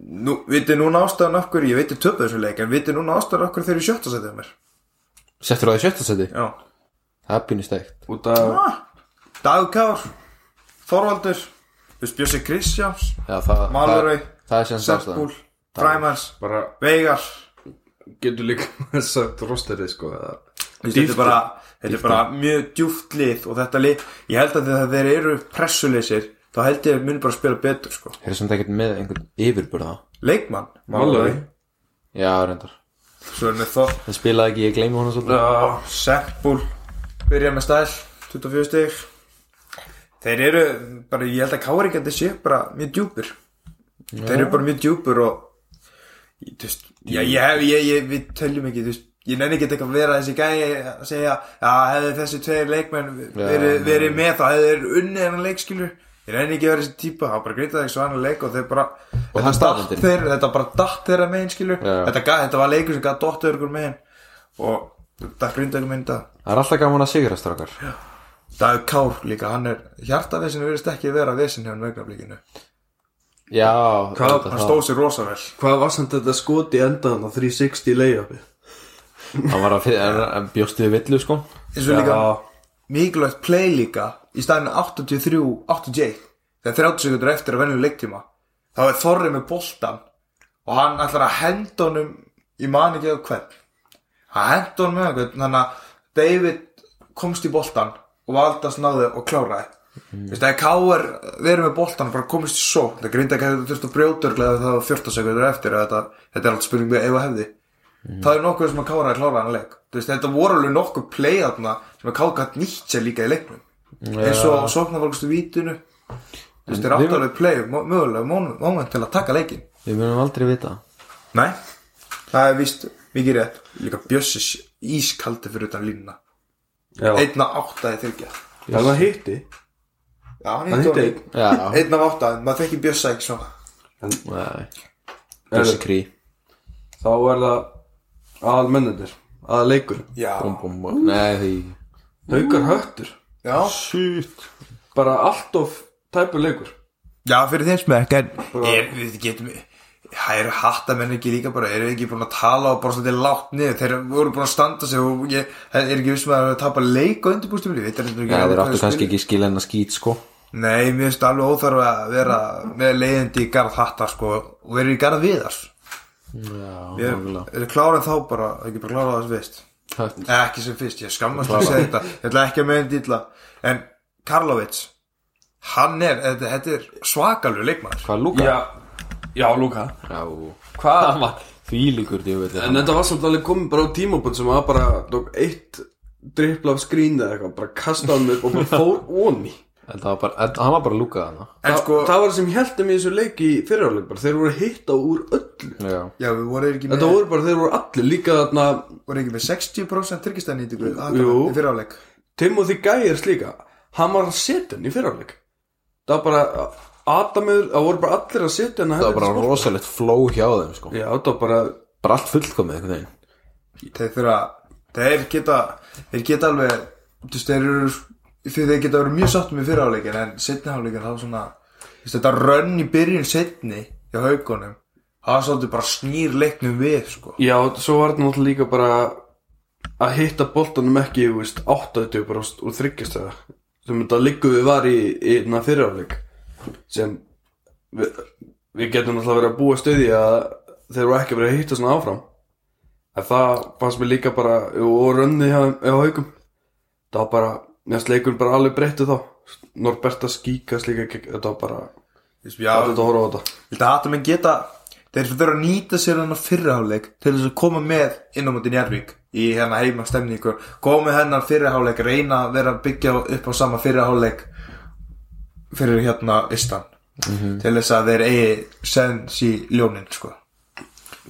S3: Nú, vitið núna ástæðan okkur Ég veitir töpu þessu leik En vitið núna ástæðan okkur þeir eru í sjötta setið mér
S1: Settur á því sjötta seti?
S3: Já
S1: Það er pínu steikt
S4: út af
S3: ah, Dagur Kár Þorvaldur Við spjössi Kristjáns
S1: Já, það, það,
S3: Malaröy
S1: það er sem
S3: Seppúl
S1: sástaðan
S3: Fræmans
S4: bara
S3: Veigar
S4: getur líka sagt rosterið sko eða
S3: Þetta
S4: dýpt.
S3: er bara Þetta er bara mjög djúft lið Og þetta lið Ég held að þegar þeir eru pressuleysir Þá held ég að muni bara spila betur sko
S1: Þeir sem það ekkert með einhvern yfirburða
S3: Leikmann
S4: Mallory.
S1: Já, reyndar
S3: Svo erum við Þor
S1: Það spilaði ekki, ég gleymi hana svolítið
S4: Já,
S3: Seppúl byrja með stæl 24 stig þeir eru bara, ég held að káringandi sé bara mjög djúpur þeir eru bara mjög djúpur og ég, þú veist, já, ég, hef- ég, ég, við töljum ekki, þú veist ég nenni ekki eitthvað að vera þessi gæi að segja að hefði þessi tveir leikmenn verið,
S1: Já,
S3: verið með þá hefði þeir unnið hennar leikskilur ég nenni ekki að vera þessi típa, það bara greita það ekki svo annar leik og þeir bara
S1: það er
S3: þetta, datt
S1: staðreyndin.
S3: þeir, þetta bara datt þeirra megin skilur
S1: Já.
S3: þetta, gat- þetta var leikur sem gætt dottur ykkur megin og þetta grinda ykkur megin í dag
S1: Það er alltaf gaman að sigra strákar
S3: Dagur Kár líka, hann er hjartavesinu verðist ekki vera vesin hjá hann vegnablíkinu
S1: Já,
S4: Hvað-
S1: auðvitað
S3: hann
S1: það.
S3: stóð sér rosa vel
S4: hvað var samt þetta skot í endan á 360 leiðafi?
S1: hann var að fyrir, hann- hann bjóst við villu sko
S3: eins og líka mikilvægt play líka í staðinu 83-81 þegar 30 sekundur eftir að venjulega leiktíma þá er Þorri með boltan og hann ætlar að henda honum í man ekki að hvern hann henda honum með einhvern þannig að David komst í boltan og Valdas náði og kláraði mm. Vist, ef K.R. verið með boltan og bara komist í svo það grinda ekki að þetta þurft að brjóta örugglega ef það var 14 sekundur eftir eða þetta, þetta er allt spurning með eða hefði það er nokkuð sem að K.R. kláraði hann leik Vist, þetta voru alveg nokkuð playatna sem að K.R. nýtt sér líka í leiknum eins og sóknarfólkstu vítinu Vist, þetta er
S1: við-
S3: áttalega play mö- mögulega món- moment til að taka leikin
S1: Við munum aldrei vita
S3: Nei, það er víst mikið rétt Líka Bjössi ískaldi fyrir utan línuna
S4: Já.
S3: Einn af átta eða þryggja
S4: Það var hitti
S3: Já, hann
S4: Það
S3: hitti
S4: hitti
S3: honum.
S4: einn
S1: Já,
S3: Einn af átta, en maður þekki Bjössa ekki svona
S1: nei
S4: Herru,
S1: Þessi krí
S4: Þá er það aðal mennendir Aðal leikur
S3: Já,
S1: Bum, bum, bum. Nei, því
S4: Haukar höttur
S3: já,
S1: Shit
S4: Bara allt of tæpur leikur
S3: já fyrir þeim sem ekki En er, við getum Það eru hattamenn ekki líka bara Eru ekki búin að tala og bara svolítið látt niður Þeir voru búin að standa sig og ég er ekki viss með að tapa leik og undirbústumli Nei,
S1: Nei, þeir áttu kannski ekki skil en að skýt, sko
S3: Nei, mér finnst alveg óþarf að vera með leiðindi í garð hattar sko og vera í garð viðars
S1: Já,
S3: Ég er, er klárað þá bara, ekki bara klárað þess fyrst
S1: nákvæmlega
S3: Eh, Ekki sem fyrst, ég skammast að segja þetta Ég ætla ekki að meðin dýla En Karlovits Hann er, eh, þetta, þetta er svakalur leikmaður
S1: Hvað, Luka?
S4: já Lúka
S1: Já,
S4: Hvað?
S1: því líkur djöfull
S4: En þetta var samt alveg komið bara á tímabund sem var bara tók eitt dripla af skrínu eða eitthvað bara kastaði hann upp og bara fór onni
S1: En það var bara, en, hann var bara lúkað hana
S3: En
S4: Þa,
S3: sko,
S4: Það var það sem heldum í þessu leik í fyrirháleik bara þeir voru að hitta úr öllu
S1: Já,
S3: já við vorum ekki með
S4: Þetta voru bara, þeir voru allir líka þarna
S3: voru ekki með 60% tryggistæðnýtingu
S4: Jú.
S3: í fyriráleik
S4: Timothy Gæjers líka Hann var að setja hann í fyrirháleik Það var bara Adamur, það voru bara allir að setja hann að
S1: það var
S4: helviti
S1: bara
S4: sko.
S1: rosalegt fló hjá þeim, sko
S4: Já, það var bara
S1: Bara allt fullkomið, einhvern veginn
S3: Þeir þurfa, þeir geta þeir geta alveg, þú veist, þeir eru því þeir geta verið mjög sáttum í fyriráleikin en setniháleikin þá svona þú veist, þetta rönn í byrjun setni hjá haugunum, það var svolítið bara snýr leiknum við, sko
S4: Já, svo var þetta náttúrulega líka bara að hitta boltanum ekki, þú veist, 80% úr þryggjast það sem þetta liggum við var í, í fyrirháleik sem við, við getum náttúrulega verið að búa stuði að þeir voru ekki verið að hitta svona áfram en það fannst mér líka bara og rönnið hjá, hjá haukum það var bara, næst leikurinn bara alveg breyttu þá Norberta skíkast líka gegn- þetta var bara,
S3: Þú veist, já,
S4: allir þetta að horfa á þetta
S3: Þetta hattum en geta Þeir sem þurfa að nýta sér hennar fyrriháleik til þess að koma með inn á mútin Jærvík í hérna heima stemningur koma með hennar fyrriháleik, reyna að vera að byggja upp á sama fyrriháleik fyrir hérna Istan til þess að þeir eigi sens í ljónin sko.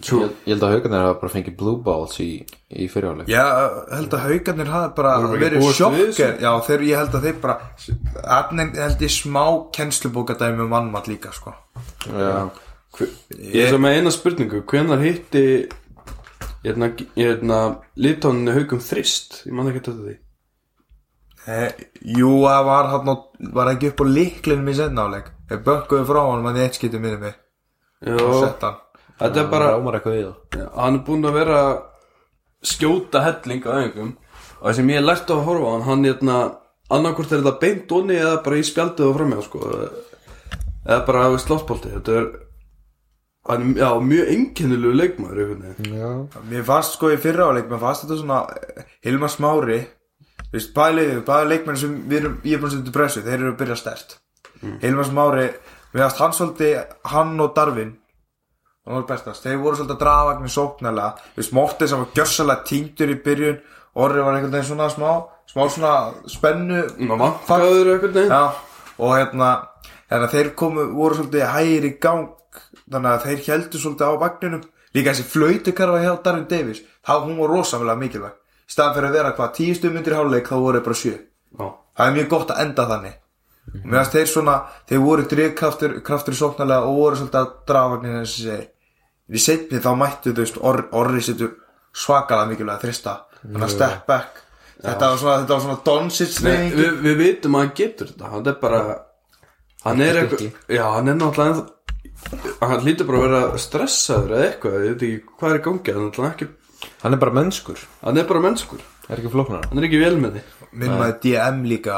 S1: Ég, ég held að haugarnir hafa bara fengið blue balls í, í fyrirháleik
S3: Já, held að haugarnir hafa bara
S4: Voru bara ekki
S3: verið
S4: búist við
S3: sjokker
S4: þessu?
S3: Já, þeir, ég held að þeir bara Arnin held ég smá kennslubókadæmi um vannmatt líka sko.
S1: Já,
S4: Hver- Ég er sem með eina spurningu Hvenar hitti hérna, hérna, litóninu haugum þrist Ég man ekki þetta því
S3: Eh, Jú, það var hann á, var ekki upp á líklinum í sennáleik Þeir bökkuðu frá honum að ég eitt skýtum minni mig og
S4: Jó,
S3: sett hann
S4: Þetta er bara
S1: rámar eitthvað við það
S4: Hann er búinn að vera að skjóta helling á einhverjum og það sem ég lært á að horfa á hann hann hérna, annarkvort er þetta beint onni eða bara í spjaldið og framjá sko eða bara á slottbólti þetta er hann, er- já, mjög einkennilegu leikmaður einhvern veginn
S1: Já
S3: Mér fannst sko í fyrra áleik, mér fannst þetta svona eh, Hilmar Smári Þú veist, bæði, bæði leikmenn sem við erum, ég er búin að setja pressu, þeir eru að byrja stert Hilmar Smári, mér fannst hann svolítið hann og Darvin og Norbertast, þeir voru svolítið að draga vagnin sóknarlega, þú veist, Mortis sem var gjössalega týndur í byrjun, Orri var einhvern veginn svona smá, smá svona spennu
S4: Hann var vankaður einhvern veginn
S3: Já, og hérna, hérna þeir komu, voru svolítið hægir í gang þannig að þeir heldur svolítið á vagninum líka þessi flautukarfa hjá Darwin Davis þá hún var rosalega mikilvæg í staðan fyrir að vera hvað tíu stummundir hálfleik þá voru þeir bara sjö
S4: Já.
S3: það er mjög gott að enda þannig og mér finnst þeir svona, þeir voru drifkraftur kraftur í sóknarlega og voru svolítið að draga vagnin eins og segi í setni þá mættu þau, veist, orri, orri setur svakalega mikilvæg þrista þannig að step back þetta var svona, þetta var svona donsits
S4: Nei, við, við vitum að hann getur þetta hann er bara hann er eitthvað, já hann er náttúrulega ennþá- hann lítur bara að vera stressaður eða eitthvað, ég veit ekki hvað er í gangi hann er, náttúrulega ekki,
S1: Hann er bara mennskur,
S4: hann er bara mennskur
S1: er ekki flóknara
S4: hann er ekki vel með því,
S3: minn maður DM líka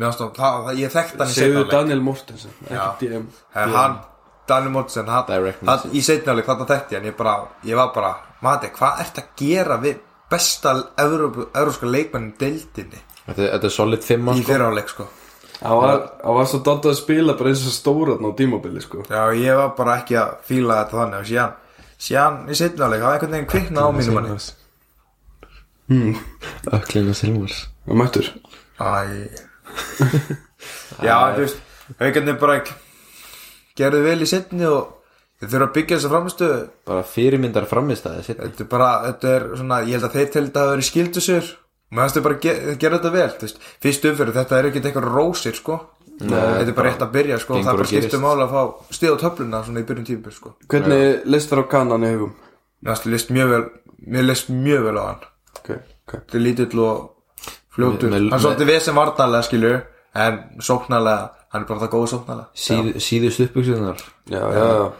S3: mér ástofn, það, það, ég þekkt hann í
S4: segðu
S3: seinna leik.
S4: Daniel Mortensen
S3: Já.
S4: ekki DM
S3: en hann, Daniel Mortensen hann,
S1: Direct
S3: hann, í setnáleik þarna þekkti ég hann ég, bara, ég var bara, mati, hvað ert að gera við besta evrópu- evrópska leikmannin deildinni
S1: Þetta, þetta er solid 5
S3: Í
S1: sko.
S3: þeirra áleik sko
S4: Það var, það var svo daldið að spila bara eins og stóratn á tímabili sko
S3: Já, ég var bara ekki að fíla þetta þannig og síðan, síðan í seinna áleik það var einhvern veginn kvikna á mínum manni
S1: Öklina Silvars
S4: Það mættur
S3: Æ Já, þú veist, haugarnir bara ekki gerðu vel í seinni og þeir þurfa að byggja þessa framistu
S1: Bara fyrirmyndar framistæði sitt
S3: þetta er bara, þetta er svona ég held að þeir til þetta hafa verið skildu sér og maður þarstu bara að ge- gera þetta vel þú veist, fyrst umfyrir, þetta er ekkert eitthvað rósir sko þetta er bara eitt að byrja sko og
S1: gengur
S3: það er
S1: og
S3: bara skiptum
S1: gerist.
S3: mála að fá stíð á töfluna svona í byrjun tímpur sko
S4: Hvernig leist þér á kanan í hugum?
S3: mér leist mjög vel, mér leist mjög vel á hann
S4: Ok, ok
S3: þetta er lítill og fljótur
S1: Me- me-
S3: hann er svolítið vesen varnarlega skilju en sóknarlega, hann er bara það góð sóknarlega
S1: Síð, Síðust uppbyggsunar
S4: Já, já, já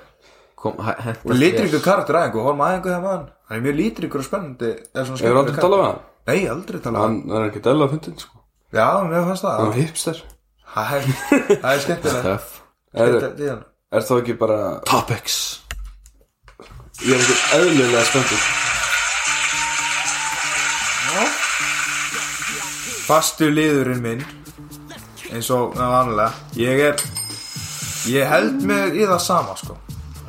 S3: og litrikur karakter aðeins og horfum aðeins það maður hann er mjög litrikur og spennandi
S4: Hefur
S3: hefur
S4: aldrei talað við hann?
S3: nei, aldrei talað um
S4: Hann er ekki dæla að fyndin sko
S3: já, mér fannst það
S4: Hann er hipster
S3: Það er- það er skemmtilegt
S4: Er,
S3: Skemmtilegt í hann.
S4: er þá ekki bara
S1: Topics
S4: Ég er ekki eðlilega spenntur
S3: Fastu liðurinn minn eins og með vanlega ég er ég held mig í það sama sko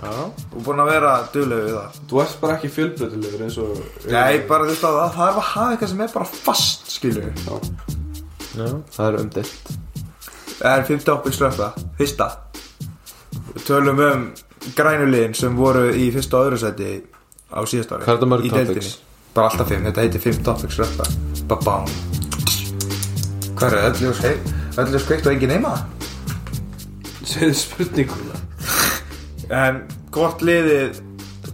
S4: Já
S3: og búin að vera duðlega við það
S4: Þú ert bara ekki fjölbreytilegur eins og
S3: Nei, bara þú veist að það þarf að hafa eitthvað sem er bara fast skilju
S4: Já
S1: Já, það er umdilt
S3: Það er 50 ápil slöfta, fyrsta Við Tölum um grænulegin sem voru í fyrsta og öðru seti á síðast ári
S1: Hvað er þetta mörg
S3: Í deildinni.
S1: topics?
S3: Bara alltaf 5, þetta heitir 5 topics slöfta Babám Hvað er öllu skeikt Öllu skeikt og engin heima
S4: Segðu spurninguna
S3: En hvort liðið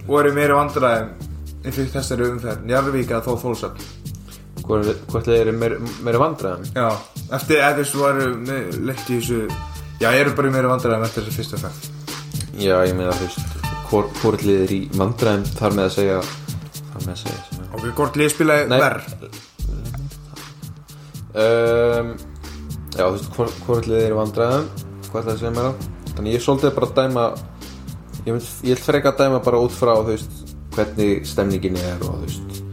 S3: voru meiri vandræðum í fyrir þessari umferð Njarvík að þó þólsöfn
S1: Hvort þið eru meir- meira vandræðan
S3: Já, eftir að þessu varu leitt í þessu Já, ég eru bara í meiri vandræðum eftir þessu fyrsta ferð
S1: Já, ég meina þú veist hvor- Hvort þið eru í vandræðan þar með að segja Þar með að segja sko. sem er.
S3: Ok, hvort liðið spilaði
S1: Nei.
S3: verð
S1: um, Já, þú veist hvor- Hvort þið eru í vandræðan Hvað það segja mér það Þannig ég er svolítið bara að dæma Ég vil, ég vil freka að dæma bara út frá þú veist Hvernig stemningin er og þú veist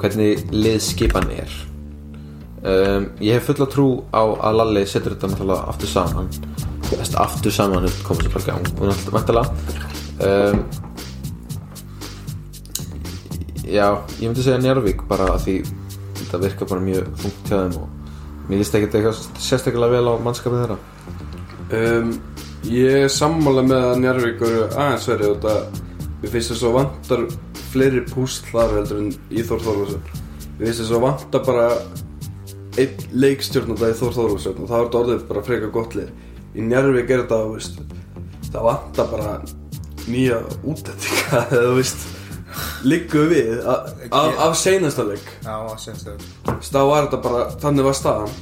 S1: Hvernig liðskipan er um, ég hef fulla trú á að Lalli setur þetta náttúrulega aftur saman Þess, aftur saman upp komið sér bara í gang og náttúrulega um, já, ég myndi segja Njárvík bara að því þetta virkar bara mjög þungt hjá þeim og mér líst ekkert eitthvað sérstaklega vel á mannskapið þeirra
S4: um, Ég er sammála með að Njarvíkur aðeins verið og þetta Mér finnst þess að vantar fleiri púslar heldur en í Þór Þórlásson Mér finnst þess að vantar bara einn leikstjórnanda í Þór Þórlásson og það var þetta orðið bara freka gott lið Í Njarvík er þetta, þú veist það vantar bara nýja útendinga eða þú veist liggu við a- af, af seinasta leik
S3: Já, það syns þau
S4: stað var þetta bara, þannig var staðan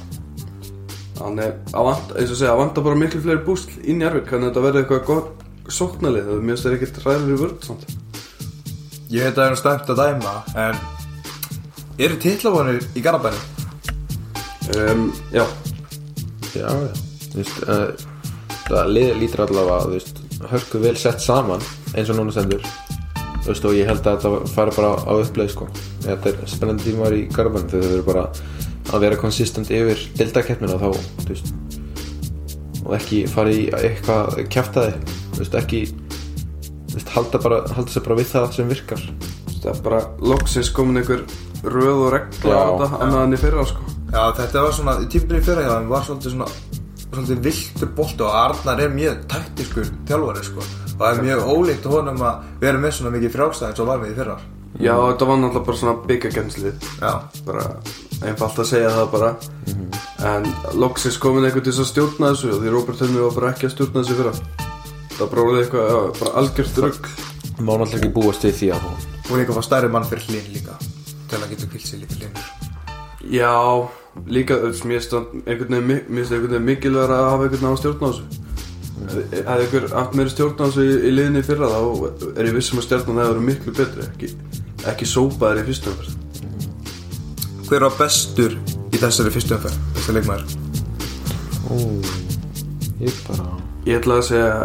S4: þannig, að vanta, eins og segja, að vanta bara miklu fleiri búsl inn í Arvik þannig að þetta verði eitthvað gott sóknalið það mjög styrir ekkert ræður í vörð samt
S3: Ég veit að það er stönd að dæma En Eru titlavognir í Garabæri?
S4: um, já,
S1: já, já þú veist, uh, það lið lítur allavega þú veist, hörku vel sett saman eins og núna sendur þú veist, og ég held að þetta fara bara á uppleið sko. þetta er spennandi tímar í garfann þau verður bara að vera konsistent yfir deildakeppnina þá þú veist, og ekki fara í eitthvað kjaftaði þú veist, ekki þú veist, halda, bara, halda sér bara við það sem virkar
S4: það er bara loksins komin einhver röð og regla
S1: Já.
S4: á þetta að meðan í fyrra sko
S3: Já, þetta var svona Tímpil í fyrra hjá þeim var svolítið svona Svolítið viltur bolti og Arnar er mjög taktiskur þjálfari sko Og það er mjög ólíkt honum að vera með svona mikið frjákstæðin Svo var við í fyrra
S4: já, þetta var náttúrulega bara svona byggagjenslið
S3: Já
S4: bara einfalt að segja það bara en loksins komin einhver til þess að stjórna þessu og því Robert Henni var bara ekki að stjórna þessu í fyrra það bara orðið eitthvað, já, bara algjört rögg
S1: má náttúrulega ekki búast við því að hún
S3: Og líka fá stærri mann fyrir hlinn líka Til að geta kvilt sér líka hlinnur
S4: Já, líka þú veist, mér stand einhvern veginn, mi- mér finnst einhvern veginn mikilvægur að hafa einhvern veginn á stjórn á þessu Hefði hefði einhver haft meiri stjórn á þessu í, í liðinni í fyrra þá er ég vissum að stjórnum það eru miklu betri ekki, ekki sópaðir í fyrstu umferð
S3: Hver var bestur í þessari fyrstu umferð? Þessi leikmaður
S1: ó, ég bara
S4: Ég ætla að segja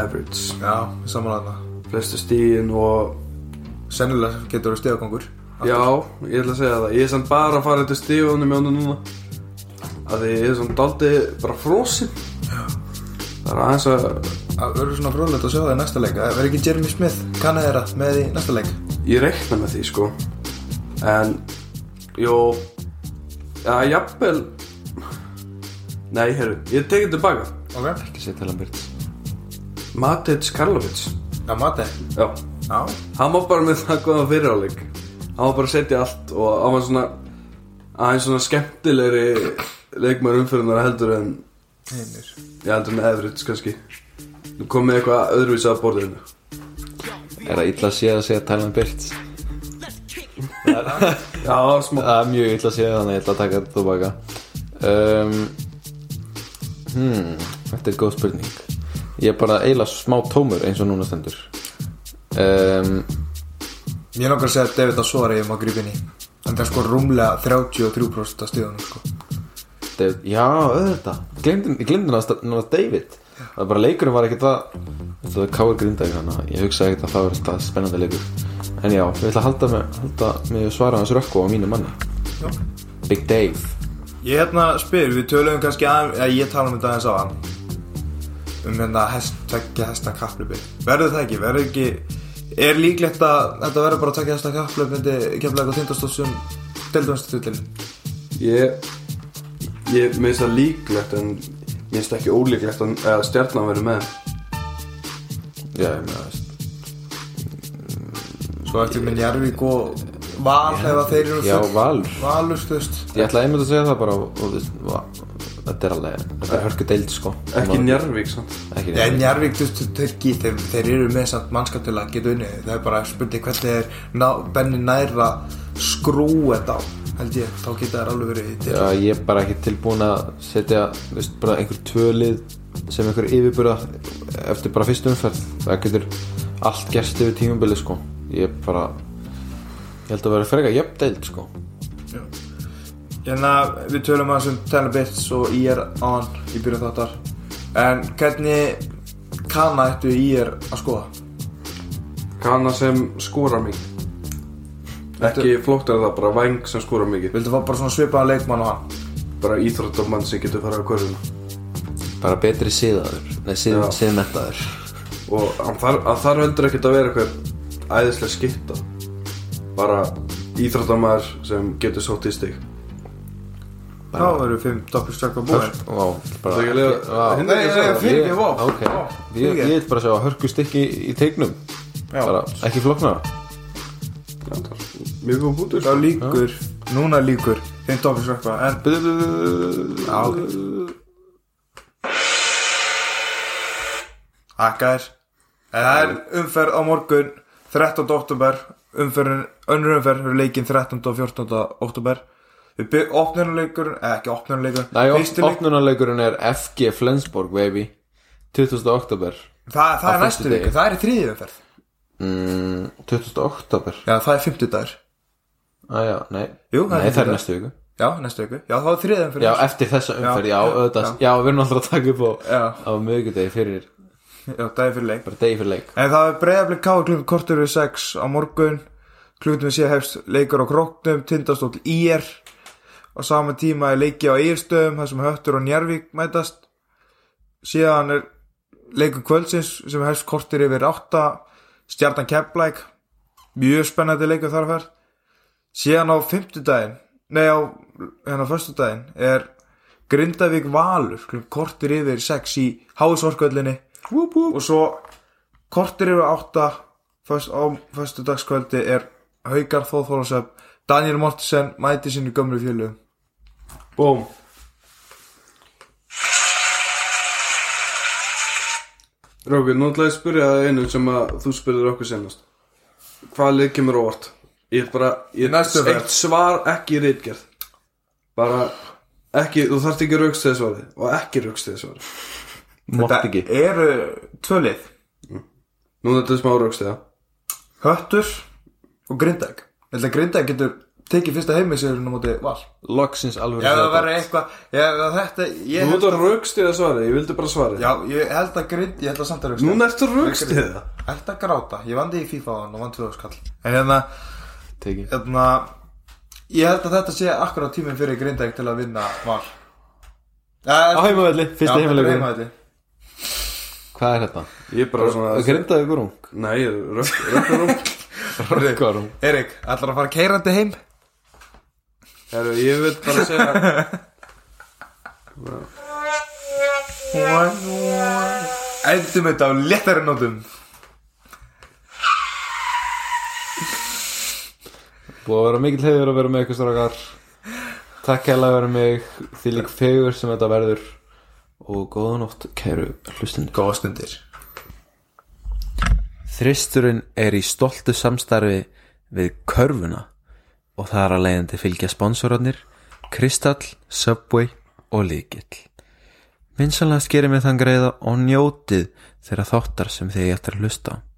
S4: average
S3: Já, samanlega
S4: flestu stíin og
S3: Sennilega getur þú stegakongur
S4: já, ég ætla að segja það ég er samt bara að fara þetta stíunum hjá honum núna að því ég er svona daldið bara frosinn það er aðeins að
S3: Það verður svona frólægt að sjá það í næsta leik Það verður ekki Jeremy Smith kannæðara með í næsta leik
S4: ég reikna með því sko en jú já, jafnvel nei, herru, ég tekið tilbaka
S3: Ok
S1: Ekki segja til hann byrjt
S4: Matic Karlovic
S3: Já, mati
S4: já,
S3: Já
S4: hann var bara með það góðan fyriráleik hann var bara að setja allt og hann var svona aðeins svona skemmtilegri leikmar umfyrunar heldur en
S3: Einir
S4: ég heldur en Everett kannski nú komið eitthvað öðruvísi að borðinu
S1: Er það illa að sé að segja til hann byrjt
S4: já, smá
S1: Það er mjög illa að sé þannig að ég ætla að taka þetta tilbaka um, hmm, Þetta er góð spurning Ég er bara eiginlega smá tómur eins og núna stendur um,
S3: Mér langar að segja að David Asori um að grípa inn í En það er sko rúmlega 33% af stíðunum sko
S1: David, já, auðvitað Glemdi- Ég glemdi náttúrulega David Það er bara leikurinn var ekkert að Þetta var káir grindag þannig að ég hugsaði ekkert að það var þetta spennandi leikur En já, ég ætla að halda mig, halda mig að svara hans rökku á mínu manni
S3: Já.
S1: Big Dave
S3: Ég hérna spyr, við töluðum kannski aðeins Eða ég tala um þetta aðeins á hann Um hérna hest, tveggja hesta kapplöpi Verður það ekki, verður ekki Er líklegt að þetta verður bara tveggja hesta kapplöp Myndi kemla eitthvað tindastóðsum Deildumstutullin
S4: Ég, ég minnst það líklegt en minnst ekki ólíklegt að að stjarnan verið með
S1: Já, ég meina, veist
S3: Svo eftir minn Jarvík og Val Ef að þeir eru
S1: Já, Valur
S3: Valur, þú veist
S1: Ég ætlaði einmitt að segja það bara og, og, veist, va- Þetta er alveg Þetta er hörku deild sko
S4: ekki Njarvík samt
S1: Ekki
S3: Já, en
S1: njörg
S3: Jarvík, þú veist, þeir, þeir, þeir, þeir eru með samt mannskap til að geta unnið Það er bara spurning hvernig þeir ná, benni nær að skrúa þetta á Held ég, þá geta þær alveg verið í til
S1: Já, ég er bara ekki tilbúin að setja þú veist, bara einhver tvölið sem einhver yfirburða eftir bara fyrstu umferð það getur allt gerst yfir tímumbili sko ég er bara ég held að vera frekar jöfn deild sko
S3: Hérna, við tölum aðeins um Telebits og IR án í byrjun þáttar En hvernig kanna ættu IR að skoða?
S4: Kana sem skora mikið ekki flóttar það bara væng sem skora mikið
S3: Vildu fá bara svona svipaða leikmann á hann?
S4: bara íþróttamann sem getur farið á körfuna
S1: bara betri síðaður nei, síð,
S4: Já.
S1: síðmettaður
S4: og hann þarf, hann þarf heldur ekkert að vera eitthvað æðislega skipta bara íþróttamann sem getur sótt í stig
S3: Þá eru fimm doppelstrakka búin
S1: Vá, bara
S4: Það er ekki að-
S1: Vá.
S4: Nei, nei, nei,
S3: fyrir ekki, vá.
S1: Ok,
S3: Vá,
S1: ég,
S3: fyrir ekki.
S1: ég vil bara sjá hörku stykki í tegnum bara ekki flokna
S4: Já, það er mjög góð bútur
S3: Þá líkur, núna líkur, fimm doppelstrakka En
S1: Já,
S3: ok. Akkar Það er umferð á morgun 13. oktober umferðin, önnur umferð er leikinn 13. og 14. oktober við bygg opnunuleikur eða ekki opnunuleikur
S1: Nei,
S3: fyrsti leik
S1: opnunarleikurinn er FG Flensborg, baby 20. oktober
S3: það, það
S1: á
S3: er næstu
S1: föstudegi.
S3: leikur, það er í þriðið umferð
S1: mm, 20. oktober
S3: Já, það er 50 dagur
S1: Æja, Ah, nei,
S3: Jú, það er
S1: nei það er
S3: þetta.
S1: næstu viku
S3: Já, næstu leikur, já það er þriðið umferð
S1: Já, eftir þessa umferð, já,
S3: já,
S1: auðvitað Já, við erum alltaf að taka upp á,
S3: Já.
S1: á miðvikudegi fyrir,
S3: já það er fyrir leik
S1: bara degi fyrir leik
S3: En það er breyðaflik ká klukkan kortur við 6 á morgun klukkan við sé hefst leikur á króknum tindastóll ír á sama tíma er leiki á eirstöðum þar sem höttur og njárvík mætast síðan er leikur kvöldsins sem hefst kortur yfir 8 stjartan kepplæk mjög spennandi leikur þar að fer síðan á fimmtudaginn nei á hérna á föstudaginn er Grindavík Valur klukkan kortur yfir 6 í háðsorkvöllinni
S1: Wúp, wúp
S3: og svo kortir yfir átta föst, á föstu dagskvöldi er Haugar Þóðþólasöf Daniel Mortensen mæti sinni gömlu fjölu
S4: Bóm Rókur, nú ætla ég að spyrja það einu sem að þú spurðir okkur senast Hvað lið kemur á óvart? Ég er bara, ég
S3: Næstu ferð.
S4: eitt svar ekki reitgerð Bara, ekki, þú þarft ekki raukst þegar svarið Og ekki raukst þegar svarið
S1: Mátt ekki
S3: eru tvölið
S4: Nú er þetta smá raukst þegar
S3: Höttur og Grindag Þetta Grindag getur tekið fyrsta heimisérun á móti val
S1: Loksins alveg
S3: Ef það verður eitthvað Ef það þetta ég held,
S4: Nú er þetta raukst þegar svarið, ég vildi bara svarið
S3: Já, ég held að Grind Ég held að samt að rauðst
S4: Núna ertu raukst þegar
S3: Held að gráta Ég vandi í FIFA á hann og vann 2000 kall En hérna
S1: Teki
S3: Þannig að ég held að þetta sé akkurat tíminn fyrir Grindavík til að vinna val Eh,
S1: Á heimavelli, fyrsta heimilegur Hvað er þetta?
S4: Ég er bara svona
S1: Grindaði grung
S4: Nei, ég er rökk, rökkarúm
S1: Rökkarung
S3: Erik, ætlar að fara keirandi heim?
S4: Herru, ég vil bara segja
S3: Endum þetta á léttari nótum
S1: Búið að vera mikill hefur að vera með ykkur strákar Takk hella að vera mig Því lík fegur sem þetta verður Og góða nótt kæru hlustundur
S3: Góða stundir
S1: Þristurinn er í stoltu samstarfi Við körfuna Og það er að leiðandi fylgja sponsorarnir Kristall, Subway og Líkill Minsanlega skerir mig þann greiða og njótið þeirra þáttar sem þið ég eftir að hlusta á.